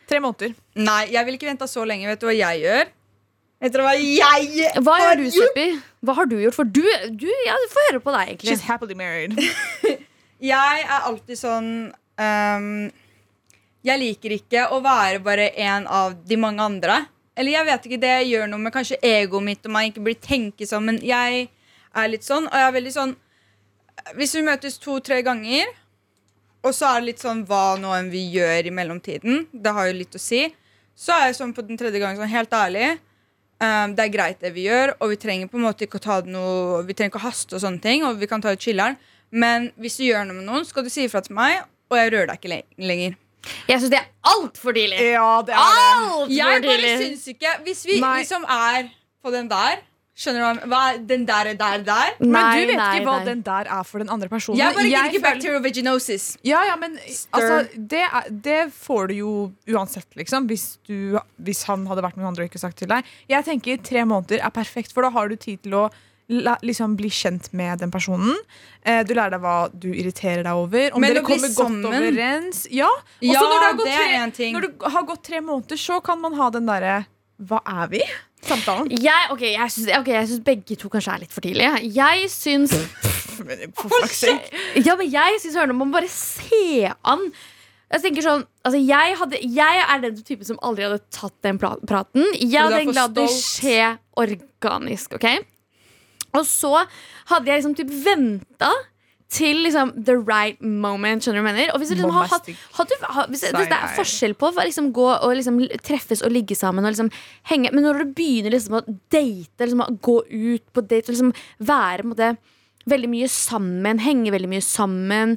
Speaker 3: Tre måneder.
Speaker 7: Nei, jeg vil ikke vente så lenge. Vet du hva jeg gjør? Vet dere hva jeg gjør?
Speaker 2: Hva gjør du, Seppi? Hva har du gjort? For du, du ja, du får høre på deg, egentlig.
Speaker 3: She's happily married.
Speaker 7: Jeg er alltid sånn ehm, Jeg liker ikke å være bare en av de mange andre. Eller jeg vet ikke, det gjør noe med kanskje egoet mitt om man ikke blir tenksom, men jeg er litt sånn, og jeg er veldig sånn Hvis vi møtes to-tre ganger, og så er det litt sånn hva nå enn vi gjør i mellomtiden, det har jo litt å si, så er jeg sånn på den tredje gangen sånn helt ærlig. ehm, det er greit, det vi gjør, og vi trenger på en måte ikke å ta det noe Vi trenger ikke å haste og sånne ting, og vi kan ta det chiller'n, men hvis du gjør noe med noen, skal du si ifra til meg, og jeg rører deg ikke le- lenger.
Speaker 2: Jeg syns det er altfor tidlig.
Speaker 3: ja, det er det.
Speaker 2: Altfor
Speaker 7: Jeg bare
Speaker 2: tidlig.
Speaker 7: syns ikke Hvis vi
Speaker 3: Nei.
Speaker 7: liksom er på den der Skjønner du hva jeg men- hva er Den der er der, der.
Speaker 3: Men
Speaker 2: Nei,
Speaker 3: du vet
Speaker 2: nei,
Speaker 3: ikke hva
Speaker 2: nei.
Speaker 3: den der er for den andre personen.
Speaker 7: Jeg bare gidder
Speaker 3: Jeg
Speaker 7: ikke
Speaker 3: føler-
Speaker 7: bacterial vaginosis.
Speaker 3: Ja, ja, men altså, det, er, det får du jo uansett, liksom. Hvis, du, hvis han hadde vært med noen andre og ikke sagt til deg. Jeg tenker tre måneder er perfekt, for da har du tid til å la, liksom, bli kjent med den personen. Eh, du lærer deg hva du irriterer deg over. Om
Speaker 7: Men
Speaker 3: dere
Speaker 7: å bli
Speaker 3: kommer
Speaker 7: sammen-
Speaker 3: godt overens. Ja, også
Speaker 7: Ja,
Speaker 3: når, det har gått
Speaker 7: det er
Speaker 3: tre,
Speaker 7: en ting.
Speaker 3: når du har gått tre måneder, så kan man ha den derre Hva er vi? Samtalen.
Speaker 2: Jeg, ok, jeg syns begge to kanskje er litt for tidlige. Jeg syns
Speaker 3: For fuck's sake.
Speaker 2: Ja, men jeg synes Ørne, man må bare se an Jeg tenker sånn altså jeg, hadde, jeg er den typen som aldri hadde tatt den pla- praten Jeg
Speaker 7: du er
Speaker 2: hadde
Speaker 7: for
Speaker 2: egentlig latt det skje
Speaker 7: stolt.
Speaker 2: organisk ok? Og så hadde jeg liksom typ ventet til liksom the right moment Skjønner du hva jeg mener? Og hvis, du liksom har, hatt,
Speaker 3: Bombastic.
Speaker 2: har du, har, hvis, hvis det er
Speaker 3: Seier.
Speaker 2: forskjell på å liksom gå og liksom treffes og ligge sammen og liksom henge Men når du begynner liksom å date, liksom å gå ut på date, liksom være på en måte veldig mye sammen, henge veldig mye sammen.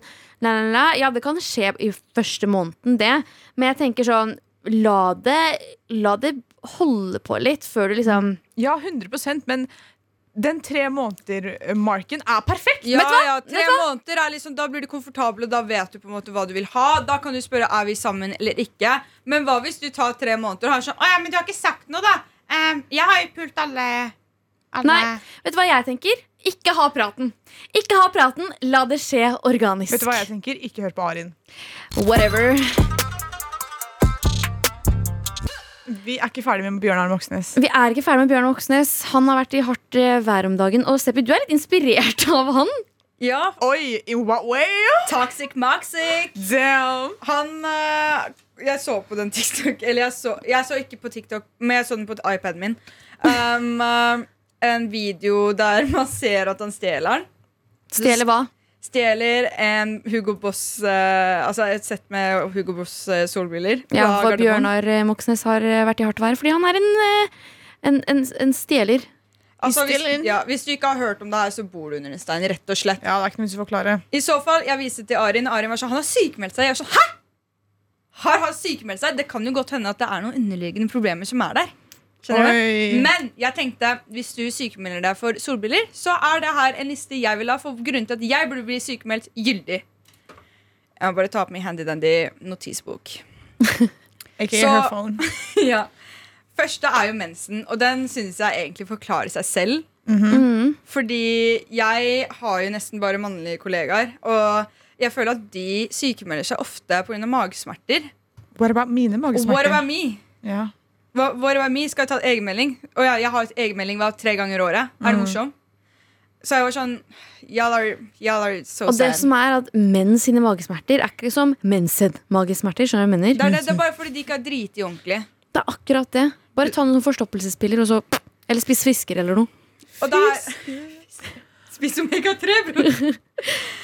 Speaker 2: La, la, la. Ja, det kan skje i første måneden, det. Men jeg tenker sånn La det, la det holde på litt før du liksom
Speaker 3: Ja, 100 men den tre måneder-marken er perfekt.
Speaker 7: Ja,
Speaker 2: Vet du hva?
Speaker 7: ja, tre måneder er liksom, Da blir du komfortabel, og da vet du på en måte hva du vil ha. Da kan du spørre er vi sammen eller ikke. Men hva hvis du tar tre måneder og har sånn Å ja, men du har ikke sagt noe, da. Ehm, jeg har jo pult alle, alle.
Speaker 2: Nei, vet du hva jeg tenker? Ikke ha praten. Ikke ha praten, la det skje organisk.
Speaker 3: Vet du hva jeg tenker? Ikke hør på Arin.
Speaker 2: Whatever.
Speaker 3: Vi er ikke ferdig med Bjørnar Moxnes.
Speaker 2: Vi er ikke ferdig med Bjørn Voksnes. Han har vært i hardt eh, vær om dagen. Og Seppi, du er litt inspirert av han.
Speaker 7: Ja,
Speaker 3: Oi, in what way?
Speaker 7: toxic moxic.
Speaker 3: Damn!
Speaker 7: Han eh, Jeg så på den TikTok Eller jeg så, jeg så ikke på TikTok, men jeg så den på iPaden min. Um, um, en video der man ser at han stjeler den.
Speaker 2: Stjeler hva?
Speaker 7: Stjeler en Hugo Boss eh, Altså et sett med Hugo Boss eh, solbriller.
Speaker 2: Ja,
Speaker 7: fra
Speaker 2: for
Speaker 7: Gardermoen.
Speaker 2: Bjørnar eh, Moxnes har eh, vært i hardt vær fordi han er en, eh, en, en, en stjeler.
Speaker 7: Altså,
Speaker 3: Stjeler.
Speaker 7: hvis, ja, hvis du ikke har hørt om det her, så bor du under en stein. Rett og slett.
Speaker 3: Ja, det er ikke noe vi skal forklare.
Speaker 7: I så fall, jeg viste til Arin. Arin var sånn Han har sykemeldt seg. Jeg var sånn Hæ?! Har han sykemeldt seg? Det kan jo godt hende at det er noen underliggende problemer som er der. Skjønner du?
Speaker 3: Oi.
Speaker 7: Men jeg tenkte hvis du sykemelder deg for solbriller, så er det her en liste jeg vil ha for grunnen til at jeg burde bli sykemeldt gyldig. Jeg må bare ta opp min handy-dandy notisbok.
Speaker 3: Ikke
Speaker 7: Så-
Speaker 3: her phone.
Speaker 7: ja. Første er jo mensen, og den synes jeg egentlig forklarer seg selv.
Speaker 2: Mm.
Speaker 7: Fordi jeg har jo nesten bare mannlige kollegaer, og jeg føler at de sykemelder seg ofte pga. magesmerter.
Speaker 3: What about mine
Speaker 7: Og What
Speaker 3: magesmerter?
Speaker 7: about me?
Speaker 3: Ja.
Speaker 7: Hva- What about me? Skal jeg ta et egenmelding? Og ja, jeg har et egenmelding hver tre ganger i året. Er det morsom? Så jeg var sånn Y'all are, y'all are so
Speaker 2: Og det
Speaker 7: sad.
Speaker 2: som er at menn sine magesmerter er ikke som menn sin magesmerter. Skjønner du hva jeg
Speaker 7: det, er
Speaker 2: mener?
Speaker 7: det, det er bare fordi de ikke har driti ordentlig.
Speaker 2: Det er akkurat det. Bare ta noen forstoppelsespiller, og så Eller spis fisker eller noe.
Speaker 7: Og det er Spis omega-3, bror!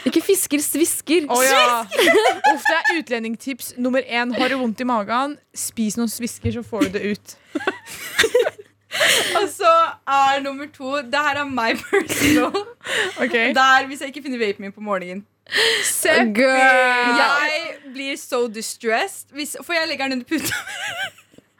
Speaker 2: Ikke fisker, svisker.
Speaker 3: Å, ja. Uff, det er utlendingtips nummer én. Har du vondt i magen, spis noen svisker, så får du det ut.
Speaker 7: Og så er nummer to Det her er my personal.
Speaker 3: Ok?
Speaker 7: Der hvis jeg ikke finner vapen min på morgenen.
Speaker 2: Girl.
Speaker 7: Jeg blir so distressed. Hvis, for jeg legger den under puta.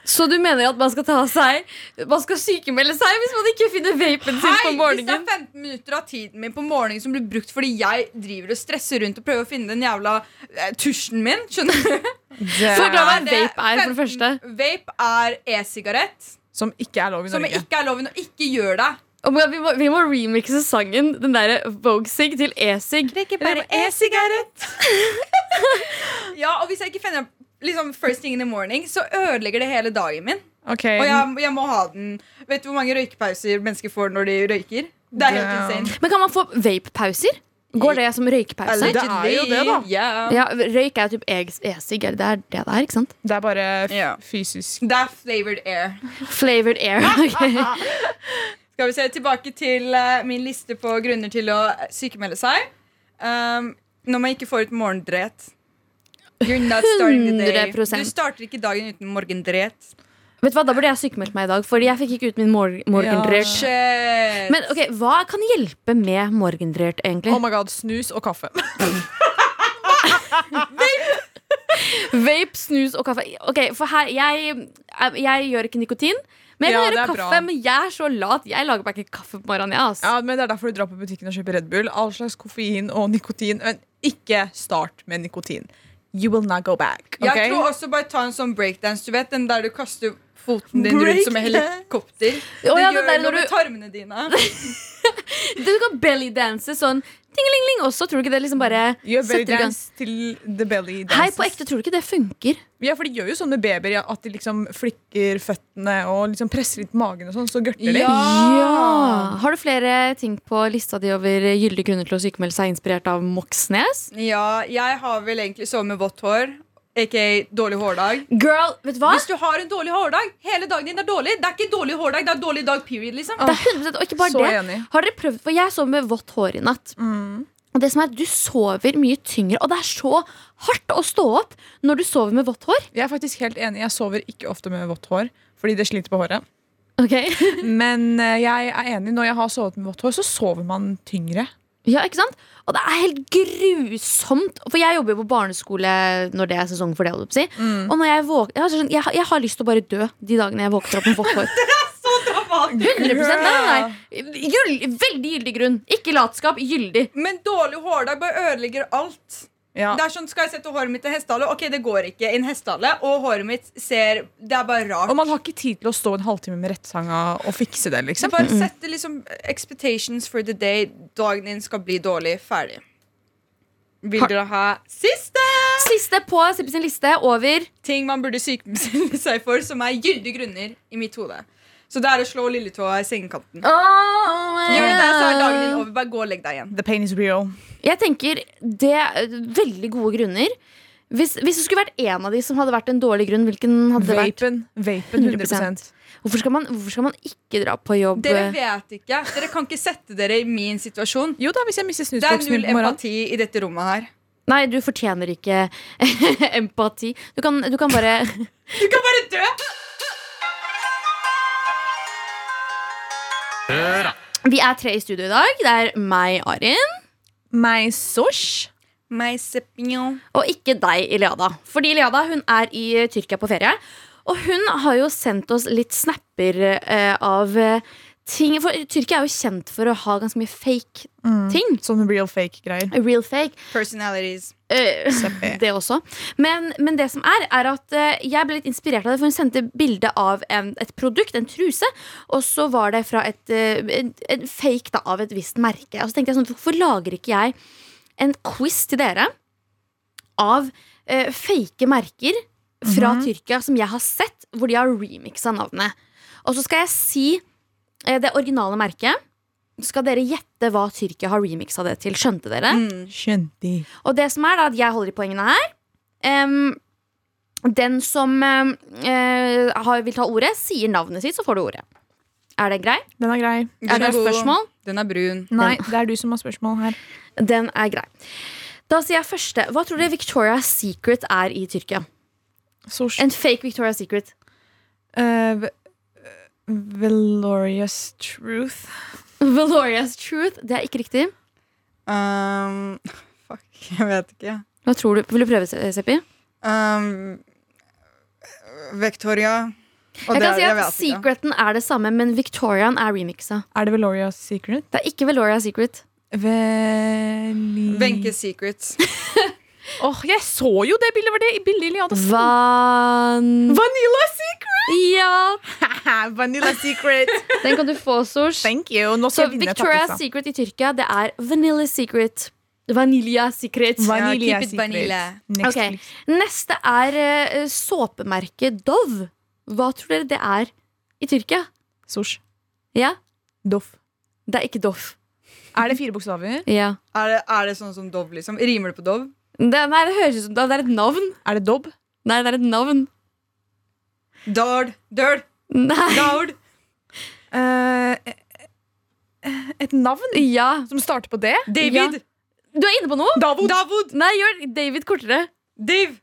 Speaker 2: Så du mener at man skal ta seg Man skal sykemelde seg hvis man ikke finner vapen sin på
Speaker 7: Hei, hvis det er
Speaker 2: morgenen?
Speaker 7: 15 minutter av tiden min på morgenen som blir brukt fordi jeg driver og stresser rundt og prøver å finne den jævla eh, tusjen min, skjønner du?
Speaker 2: Forklar hva en
Speaker 7: Det er
Speaker 2: vape er, for det første.
Speaker 7: 15 Vape er e-sigarett,
Speaker 3: Som ikke er lov i
Speaker 7: som
Speaker 3: Norge.
Speaker 7: ikke er loven å ikke gjøre det.
Speaker 2: Oh my God, vi, må, vi må remixe sangen den derre Vogue-sig til e-sig.
Speaker 7: Det er ikke bare e-sigarett. ja, og hvis jeg ikke finner liksom, first thing in the morning, så ødelegger det hele dagen min.
Speaker 3: Ok,
Speaker 7: Og jeg, jeg må ha den. Vet du hvor mange røykepauser mennesker får når de røyker? Det er helt
Speaker 3: Damn.
Speaker 7: insane.
Speaker 2: Men kan man få vape-pauser? Går det som røykpause?
Speaker 3: Det er jo det, da.
Speaker 7: Yeah.
Speaker 2: Ja, røyk er jo typ e- e-sig. er Det det er det det er, ikke sant?
Speaker 3: Det er bare f
Speaker 7: Ja.
Speaker 3: fysisk
Speaker 7: Det er flavored air.
Speaker 2: Flavored air. ok.
Speaker 7: Skal vi se tilbake til eh, min liste på grunner til å eh, sykemelde seg. Um, når man ikke får ut morgendret. You're not starting the day.
Speaker 2: 100%.
Speaker 7: Du starter ikke dagen uten morgendret.
Speaker 2: Vet du hva, Da burde jeg sykemeldt meg i dag, Fordi jeg fikk ikke ut min mor morgendrert.
Speaker 7: Shit.
Speaker 2: Men ok, hva kan hjelpe med morgendrert, egentlig?
Speaker 3: Oh my god, snus og kaffe.
Speaker 2: Vape, snus og kaffe. Ok, for her, Jeg, jeg gjør ikke nikotin. Men jeg
Speaker 3: Ja,
Speaker 2: kan
Speaker 3: det
Speaker 2: gjøre
Speaker 3: er
Speaker 2: kaffe,
Speaker 3: bra.
Speaker 2: men jeg er så lat. Jeg lager meg ikke kaffe på morgenen. Jeg, ass.
Speaker 3: Ja, men Det er derfor du drar på butikken og kjøper Red Bull. All slags koffein og nikotin. Men ikke start med nikotin. You will not go back. ok?
Speaker 7: Jeg tror også bare ta en sånn breakdance, du vet. Den der du kaster foten din rundt som en
Speaker 3: Breakdance.
Speaker 7: helikopter.
Speaker 2: Å, ja,
Speaker 7: det
Speaker 2: den der
Speaker 7: gjør
Speaker 2: når
Speaker 7: noe med
Speaker 2: du-
Speaker 7: tarmene dine.
Speaker 2: Du kan bellydance sånn tingeling-ling også. Tror du ikke det liksom bare
Speaker 3: Gjør belly
Speaker 2: setter i gang?
Speaker 3: dance til the belly dances.
Speaker 2: Hei, på ekte, tror du ikke det funker?
Speaker 3: Ja, for De gjør jo sånn med babyer ja, at de liksom flikker føttene og liksom presser litt magen. og sånn, Så gørter de.
Speaker 2: Ja. Har du flere ting på lista di over gyldige grunner til å sykemelde seg inspirert av Moxnes?
Speaker 7: Ja, jeg har vel egentlig sovet med vått hår. Aka dårlig hårdag.
Speaker 2: Girl, vet du hva?
Speaker 7: Hvis du har en dårlig hårdag, hele dagen din er dårlig. Det er ikke dårlig hårdag, det er dårlig dag period, liksom.
Speaker 2: Det er 100 Og ikke bare
Speaker 3: Så
Speaker 2: det.
Speaker 3: enig. Mm.
Speaker 2: Har dere prøvd, for Jeg sov med vått hår i natt. Og det som er at Du sover mye tyngre, og det er så hardt å stå opp når du sover med vått hår.
Speaker 3: Jeg er faktisk helt enig. Jeg sover ikke ofte med vått hår fordi det sliter på håret.
Speaker 2: Ok?
Speaker 3: Men eh, jeg er enig. Når jeg har sovet med vått hår, så sover man tyngre.
Speaker 2: Ja, ikke sant? Og det er helt grusomt. For jeg jobber jo på barneskole når det er sesong for det. holdt Jeg, på å si.
Speaker 7: Mm.
Speaker 2: Og når jeg, våk jeg, har sånn, jeg, har- jeg har lyst til å bare dø de dagene jeg våkner opp med vått hår. 100% nei, nei. Gyld, Veldig gyldig grunn. Ikke latskap. Gyldig.
Speaker 7: Men dårlig hårdag bare ødelegger alt.
Speaker 3: Ja.
Speaker 7: Det er sånn, Skal jeg sette håret mitt i en hestehale? Ok, det går ikke. i en hestehale Og håret mitt ser Det er bare rart.
Speaker 3: Og man har ikke tid til å stå en halvtime med rettesanga og fikse det.
Speaker 7: Så
Speaker 3: liksom.
Speaker 7: bare sette liksom expectations for the day. Dagen din skal bli dårlig. Ferdig. Vil
Speaker 3: Har-
Speaker 7: dere ha siste
Speaker 2: Siste på Sippe sin liste over
Speaker 7: ting man burde sykemelde seg for, som er gyldige grunner i mitt hode? Så det er å slå lilletåa i sengekanten. Gjør det der, så er dagen din over. Bare gå og legg deg igjen.
Speaker 3: The pain is real.
Speaker 2: Jeg tenker det er veldig gode grunner. Hvis, hvis det skulle vært én av de som hadde vært en dårlig grunn, hvilken hadde det vært?
Speaker 3: Vapen. Vapen 100
Speaker 2: Hvorfor skal man, hvorfor skal man ikke dra på jobb?
Speaker 7: Dere vet ikke. Dere kan ikke sette dere i min situasjon.
Speaker 3: Jo da, hvis jeg mister
Speaker 7: Det er
Speaker 3: snusboksen min
Speaker 7: null
Speaker 3: på morgenen.
Speaker 7: empati i dette rommet her.
Speaker 2: Nei, du fortjener ikke empati. Du kan, du kan bare
Speaker 7: Du kan bare dø!
Speaker 2: Vi er tre i studio i dag. Det er meg, Arin,
Speaker 3: Meg sosh.
Speaker 7: My sepinjo.
Speaker 2: og ikke deg, Ileada. Fordi Ileada hun er i Tyrkia på ferie. Og hun har jo sendt oss litt snapper eh, av eh, ting For Tyrkia er jo kjent for å ha ganske mye fake ting.
Speaker 3: Sånne Sånn real fake-greier.
Speaker 2: Real fake.
Speaker 7: Personalities.
Speaker 2: Eh, det også. Men, men det som er, er at eh, jeg ble litt inspirert av det, for hun sendte bilde av en, et produkt, en truse, og så var det fra et, eh, en, en fake da, av et visst merke. Og så tenkte jeg sånn, hvorfor lager ikke jeg en quiz til dere av eh, fake merker fra Tyrkia som jeg har sett, hvor de har remixa navnet. Og så skal jeg si eh, det originale merket. Skal dere gjette hva Tyrkia har remixa det til? Skjønte dere?
Speaker 3: Skjønte.
Speaker 2: Og det som er da at jeg holder i poengene her Em, Den som em, eh, har, vil ta ordet Sier navnet sitt, så får du ordet Er det grei?
Speaker 3: Den er grei.
Speaker 2: Er det spørsmål?
Speaker 7: Den er brun.
Speaker 3: Nei, det er du som har spørsmål her.
Speaker 2: Den er grei Da sier jeg første Hva tror dere Victoria's Secret er i Tyrkia?
Speaker 3: Sosh.
Speaker 2: En fake Victoria's Secret
Speaker 3: Eh, v- Valorious truth.
Speaker 2: Valoria's Truth Det er ikke riktig
Speaker 7: Um, fuck, jeg vet ikke.
Speaker 2: Hva eh, tror du? Vil du prøve, Se- Seppi?
Speaker 7: Um, Victoria Og
Speaker 2: Jeg kan
Speaker 7: det er-
Speaker 2: si
Speaker 7: det
Speaker 2: at
Speaker 7: vet jeg ikke.
Speaker 2: Secreten er det samme, men Victorian er remixa.
Speaker 3: Er det Veloria's Secret?
Speaker 2: Det er ikke Veloria Secret.
Speaker 3: Veli...
Speaker 7: Wenche Secrets.
Speaker 3: Åh, jeg så jo det bildet! Var det bildet Iliada
Speaker 2: Van...
Speaker 3: Vanilla Secret!
Speaker 2: Ja!
Speaker 3: Vanilla Secret.
Speaker 2: Den kan du få, Sosh.
Speaker 3: Thank you. Nå
Speaker 2: Så
Speaker 3: skal jeg vinne
Speaker 2: Victoria's
Speaker 3: takkesa.
Speaker 2: Secret i Tyrkia, det er Vanilla Secret. Vanilla Secret.
Speaker 7: Ja,
Speaker 3: Vanilla
Speaker 7: keep it
Speaker 3: Secret.
Speaker 7: vanilla.
Speaker 3: Next,
Speaker 2: Ok.
Speaker 3: please.
Speaker 2: Neste er eh, såpemerket Dove. Hva tror dere det er i Tyrkia?
Speaker 3: Sosh.
Speaker 2: Ja,
Speaker 3: Doff.
Speaker 2: det er ikke Dove.
Speaker 3: Er det fire bokstaver?
Speaker 2: Ja.
Speaker 7: Er det, er det sånn som Dov, liksom? Rimer det på Dov?
Speaker 2: Det, nei, det høres ut som Dove. Det er et navn.
Speaker 3: Er det dobb?
Speaker 2: Nei, det er et navn.
Speaker 7: Dard, døl,
Speaker 2: Nei.
Speaker 7: dard.
Speaker 3: Eh, et navn
Speaker 2: Ja.
Speaker 3: som starter på det?
Speaker 7: David,
Speaker 2: Du er inne på noe?
Speaker 3: Davod.
Speaker 7: Davod,
Speaker 2: Nei, gjør David kortere.
Speaker 7: Dave.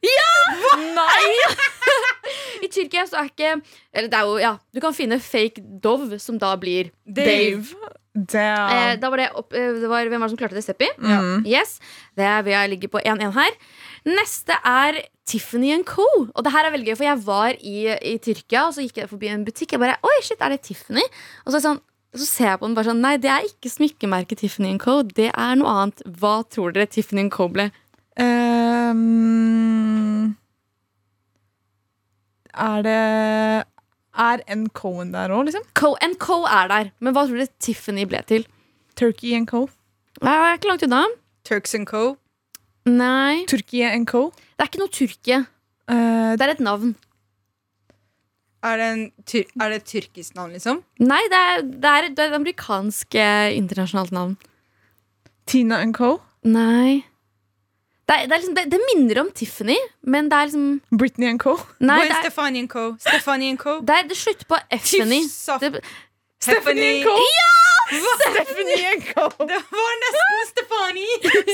Speaker 2: Nei! I Tyrkia så er ikke Eller det er jo, ja. Du kan finne fake Dove, som da blir Dave. Eh,
Speaker 3: Damn.
Speaker 2: da var det opp, eh, det var, hvem var det som klarte det? Seppi?
Speaker 3: Mm.
Speaker 2: Yes, det er vi ligger på 1-1 her. Neste er Tiffany Co. Og det her er veldig gøy, for jeg var i, i Tyrkia, og så gikk jeg forbi en butikk. Jeg bare, oi shit, er det Tiffany? Og så, er det sånn, så ser jeg på den bare sånn, nei, det er ikke smykkemerket Tiffany Co. Det er noe annet. Hva tror dere Tiffany Co. ble?
Speaker 3: Ehm, er det Er en Cohen der òg, liksom?
Speaker 2: Co and Co er der, men hva tror dere Tiffany ble til?
Speaker 3: Turkey and Co.
Speaker 2: Nei, jeg er ikke langt unna.
Speaker 7: Turks and Co.
Speaker 2: Nei,
Speaker 3: Turkey and Co.
Speaker 2: det er ikke noe Tyrkia.
Speaker 3: Eh,
Speaker 2: Det er et navn.
Speaker 7: Er det, en tyr er det et tyrkisk navn, liksom?
Speaker 2: Nei, det er, det er, det er et amerikansk eh, internasjonalt navn.
Speaker 3: Tina and Co.
Speaker 2: Nei. Det, er, det, er liksom, det, det minner om Tiffany, men det er liksom
Speaker 3: Britney and Co.
Speaker 2: Nei, det,
Speaker 7: Gwen
Speaker 2: er,
Speaker 7: Stefani and Co. Stefani and Co.
Speaker 2: det, er, det slutter på F-ny.
Speaker 7: Tifsa-
Speaker 2: Det-
Speaker 7: Stephanie
Speaker 3: Co.
Speaker 7: Ja!
Speaker 3: Stephanie and Co.
Speaker 7: Det var nesten Stefani.
Speaker 2: Ja,
Speaker 7: Jeg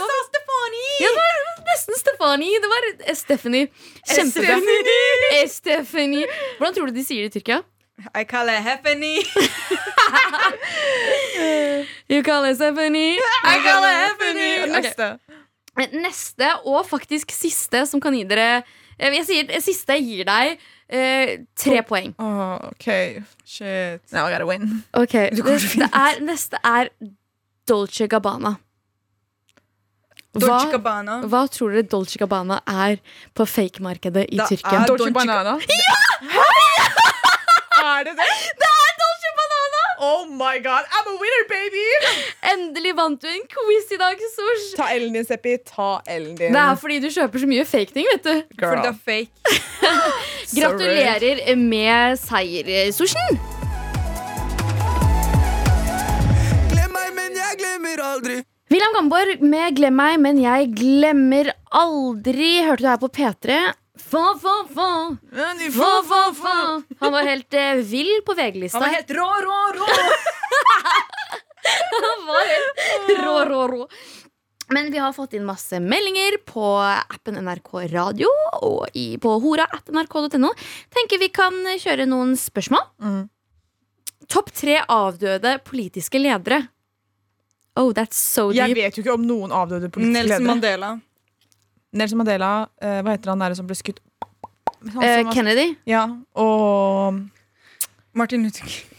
Speaker 7: sa Stefani!
Speaker 2: Ja, det var nesten Stefanie. Det var eh, Stephanie. Kjempebra. Eh, Stephanie. Hvordan tror du de sier det i Tyrkia?
Speaker 7: I call it Heffany.
Speaker 2: You call it Stephanie. I call it Stephanie. Ok.
Speaker 3: Neste.
Speaker 2: Eh, Neste og faktisk siste som kan gi dere eh, Jeg sier eh, siste gir deg eh, tre poeng.
Speaker 3: Åh, OK.
Speaker 7: Shit.
Speaker 3: Now I gotta win.
Speaker 2: Ok,
Speaker 3: Du kommer til å
Speaker 2: neste
Speaker 3: finne
Speaker 2: er, neste er Dolce Gabbana.
Speaker 7: Dolce
Speaker 2: Hva,
Speaker 7: Gabbana.
Speaker 2: hva tror dere Dolce Gabbana er på fake-markedet i
Speaker 7: Det
Speaker 2: Tyrkia?
Speaker 7: er-
Speaker 3: Ah, Dolce
Speaker 7: Dolce-
Speaker 3: Banana. Ja! er det det? Det er Dolce Banana! Oh my god, I'm a winner, baby!
Speaker 2: Endelig vant du en quiz i dag, Sosh!
Speaker 3: Ta Ellen din, Seppi. Ta Ellen din.
Speaker 2: Det er fordi du kjøper så mye fake-ting, vet du.
Speaker 7: For the fake.
Speaker 2: Gratulerer med seier, Soshen!
Speaker 6: Glem meg, men jeg glemmer aldri.
Speaker 2: William Gamborg med 'Glem meg, men jeg glemmer aldri' hørte du her på P3. Fa, fa, fa. Fa, fa, fa. Han var helt eh, vill på VG-lista.
Speaker 7: Han var helt rå, rå, rå!
Speaker 2: Han var helt rå, rå, rå. Men vi har fått inn masse meldinger på appen NRK Radio og i, på hora.nrk.no. Tenker vi kan kjøre noen spørsmål.
Speaker 3: Mhm.
Speaker 2: Topp tre avdøde politiske ledere. Oh, that's so
Speaker 3: Jeg
Speaker 2: deep.
Speaker 3: vet jo ikke om noen avdøde politiske ledere.
Speaker 7: Nelson Mandela.
Speaker 3: Nelson Mandela. eh, hva heter han der som ble skutt? Han som
Speaker 2: Eh,
Speaker 3: var-
Speaker 2: Kennedy.
Speaker 3: ja, og
Speaker 7: Martin Luther King.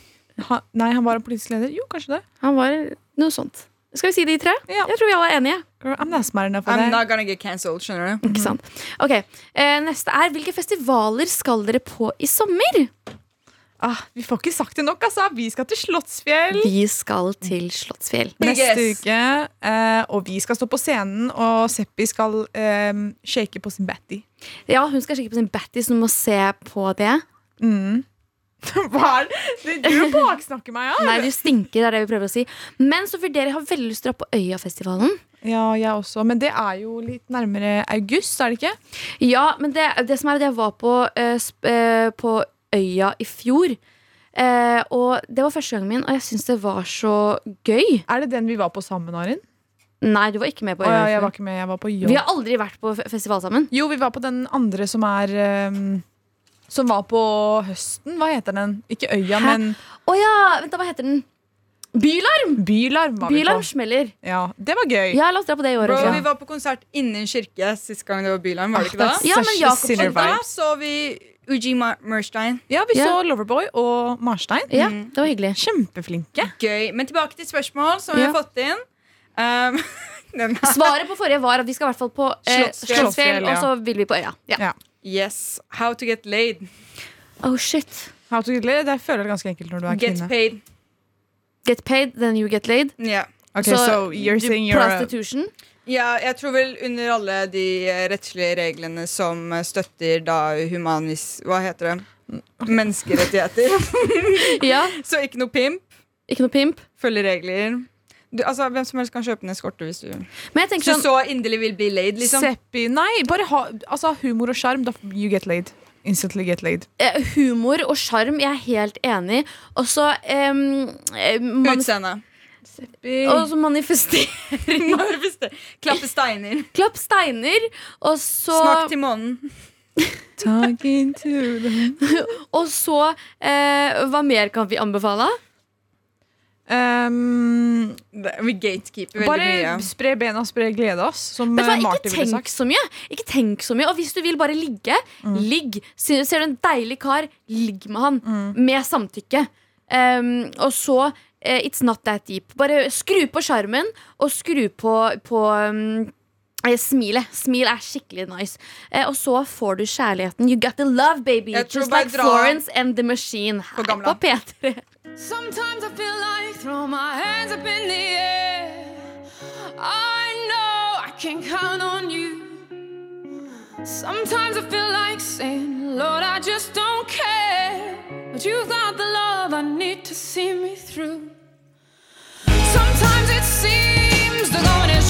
Speaker 3: han, Nei, han var en politisk leder. Jo, kanskje det.
Speaker 2: Han var noe sånt. Skal vi si de tre?
Speaker 3: Ja.
Speaker 2: Jeg tror vi alle er enige.
Speaker 3: Girl, I'm not smart enough for that.
Speaker 7: I'm not gonna get cancelled, skjønner du.
Speaker 2: Ikke sant? Ok, eh, Neste er hvilke festivaler skal dere på i sommer?
Speaker 3: Ah, vi får ikke sagt det nok, altså. Vi skal til Slottsfjell.
Speaker 2: Vi skal til Slottsfjell.
Speaker 3: Neste
Speaker 7: Yes.
Speaker 3: uke. eh, og vi skal stå på scenen, og Seppi skal eh, shake på sin batty.
Speaker 2: Ja, hun skal kikke på sin Batty, så du må se på det.
Speaker 3: Hva er det? Du baksnakker meg, ja?
Speaker 2: Nei, du stinker, er det vi prøver å si. Men så vurderer jeg har veldig lyst til å dra på Øyafestivalen.
Speaker 3: Ja, jeg også. Men det er jo litt nærmere august, er det ikke?
Speaker 2: Ja, men det, det som er at jeg var på, eh, sp eh, på Øya i fjor. Eh, og det var første gangen min, og jeg syns det var så gøy.
Speaker 3: Er det den vi var på sammen, Arin?
Speaker 2: Nei, du var ikke med på
Speaker 3: Å,
Speaker 2: Øya.
Speaker 3: ja,
Speaker 2: i
Speaker 3: jeg var
Speaker 2: fjor.
Speaker 3: ikke med, jeg var på
Speaker 2: Vi
Speaker 3: jobb.
Speaker 2: har aldri vært på fe- festival sammen.
Speaker 3: Jo, vi var på den andre som er ehm, Som var på høsten. Hva heter den? Ikke Øya,
Speaker 2: Hæ?
Speaker 3: men
Speaker 2: Å ja, vent da, hva heter den? Bylarm!
Speaker 3: Bylarm var
Speaker 2: Bylarm
Speaker 3: vi på.
Speaker 2: smeller.
Speaker 3: Ja, det var gøy.
Speaker 2: Ja, la oss dra på det i år
Speaker 7: Bro,
Speaker 2: også.
Speaker 7: vi var på konsert innen kirke sist gang det var Bylarm, var det ikke
Speaker 3: Ah,
Speaker 7: det?
Speaker 3: that's
Speaker 2: Ja, men
Speaker 3: such
Speaker 2: Jakob-
Speaker 3: sinner
Speaker 7: Og da
Speaker 3: vibes.
Speaker 7: så vi Uji Mar- Murstein.
Speaker 3: Ja, vi
Speaker 2: Ja.
Speaker 3: så Loverboy og Marstein.
Speaker 2: Ja, det var hyggelig.
Speaker 3: Kjempeflinke.
Speaker 7: Gøy. Men tilbake til spørsmål som vi
Speaker 2: Ja.
Speaker 7: har fått inn. Um, den her.
Speaker 2: Svaret på forrige var at vi skal i hvert fall på eh,
Speaker 7: Slottsfjell.
Speaker 2: Slottsfjell,
Speaker 3: ja.
Speaker 2: og så vil vi på øya. Ja.
Speaker 3: Ja.
Speaker 7: Yes. How to get laid.
Speaker 2: Oh shit.
Speaker 3: How to get laid, Det føler jeg er ganske enkelt når du er
Speaker 7: Get
Speaker 3: kvinne.
Speaker 7: paid.
Speaker 2: Get paid, then you get laid.
Speaker 7: Ja.
Speaker 3: Okay,
Speaker 2: Så
Speaker 3: so you're saying you're a-
Speaker 2: Prostitution.
Speaker 7: ja, jeg tror vel under alle de eh, rettslige reglene som eh, støtter da humanis... Hva heter det? Menneskerettigheter.
Speaker 2: Ja,
Speaker 7: Så ikke noe pimp.
Speaker 2: ikke noe pimp.
Speaker 7: Følge regler. Du, altså, hvem som helst kan kjøpe en eskorte hvis du
Speaker 2: Men jeg tenker
Speaker 7: Så
Speaker 2: sånn
Speaker 7: så inderlig vil bli laid, liksom.
Speaker 3: Seppi Nei, bare ha altså, humor og sjarm. Da you get laid. Instantly get laid.
Speaker 2: eh, humor og sjarm, jeg er helt enig. Og så em, eh, manif
Speaker 7: Utseende.
Speaker 2: og så manifestering.
Speaker 7: Klappe steiner.
Speaker 2: Klapp steiner. Og så,
Speaker 7: Snakk til månen.
Speaker 3: Talking to them.
Speaker 2: og så eh, Hva mer kan vi anbefale?
Speaker 3: Um,
Speaker 7: Vi gatekeeper veldig mye.
Speaker 3: bare spre bena, spre glede oss, som
Speaker 2: Vet du
Speaker 3: eh,
Speaker 2: hva,
Speaker 3: Marty
Speaker 2: ikke
Speaker 3: ville
Speaker 2: tenk
Speaker 3: sagt.
Speaker 2: så mye. Ikke tenk så mye Og hvis du vil bare ligge, ligg. Se- Ser du en deilig kar, ligg med han. Med samtykke. Ehm, og så eh, It's not that deep. Bare skru på sjarmen, og skru på, på um, eh, Smilet. Smil er skikkelig nice. Eh, og så får du kjærligheten. You got the love, baby.
Speaker 7: Jeg tror
Speaker 2: Just
Speaker 7: bare
Speaker 2: like
Speaker 7: dra-
Speaker 2: Florence and the Machine. Her
Speaker 7: gamla.
Speaker 2: på P3.
Speaker 9: Sometimes I feel like throw my hands up in the air. I know I can count on you. Sometimes I feel like saying, Lord, I just don't care. But you've got the love I need to see me through. Sometimes it seems the going is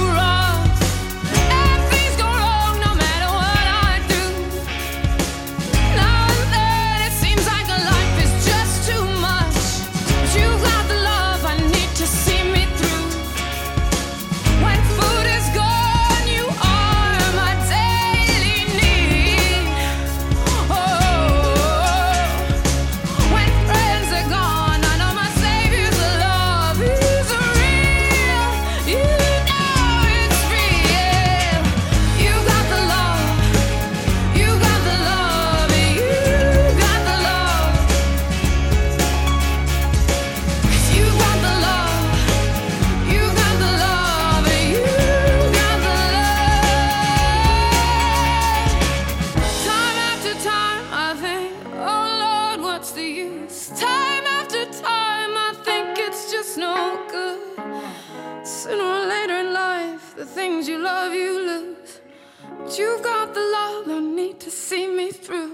Speaker 9: rough. And things go wrong no matter what I do. Now and then it seems like life is just too much. But you got the love I need to see me through. When food is gone, you are my daily need. Oh, when friends are gone, I know my savior's love is real. You know it's real. You got the love. You got the love, you got the love. You got the love, you got the love, you got the love. Time after time, I think, oh Lord, what's the use? Time after time, I think it's just no good. Sooner or later in life, the things you love, you lose. You've got the love I need to see me through.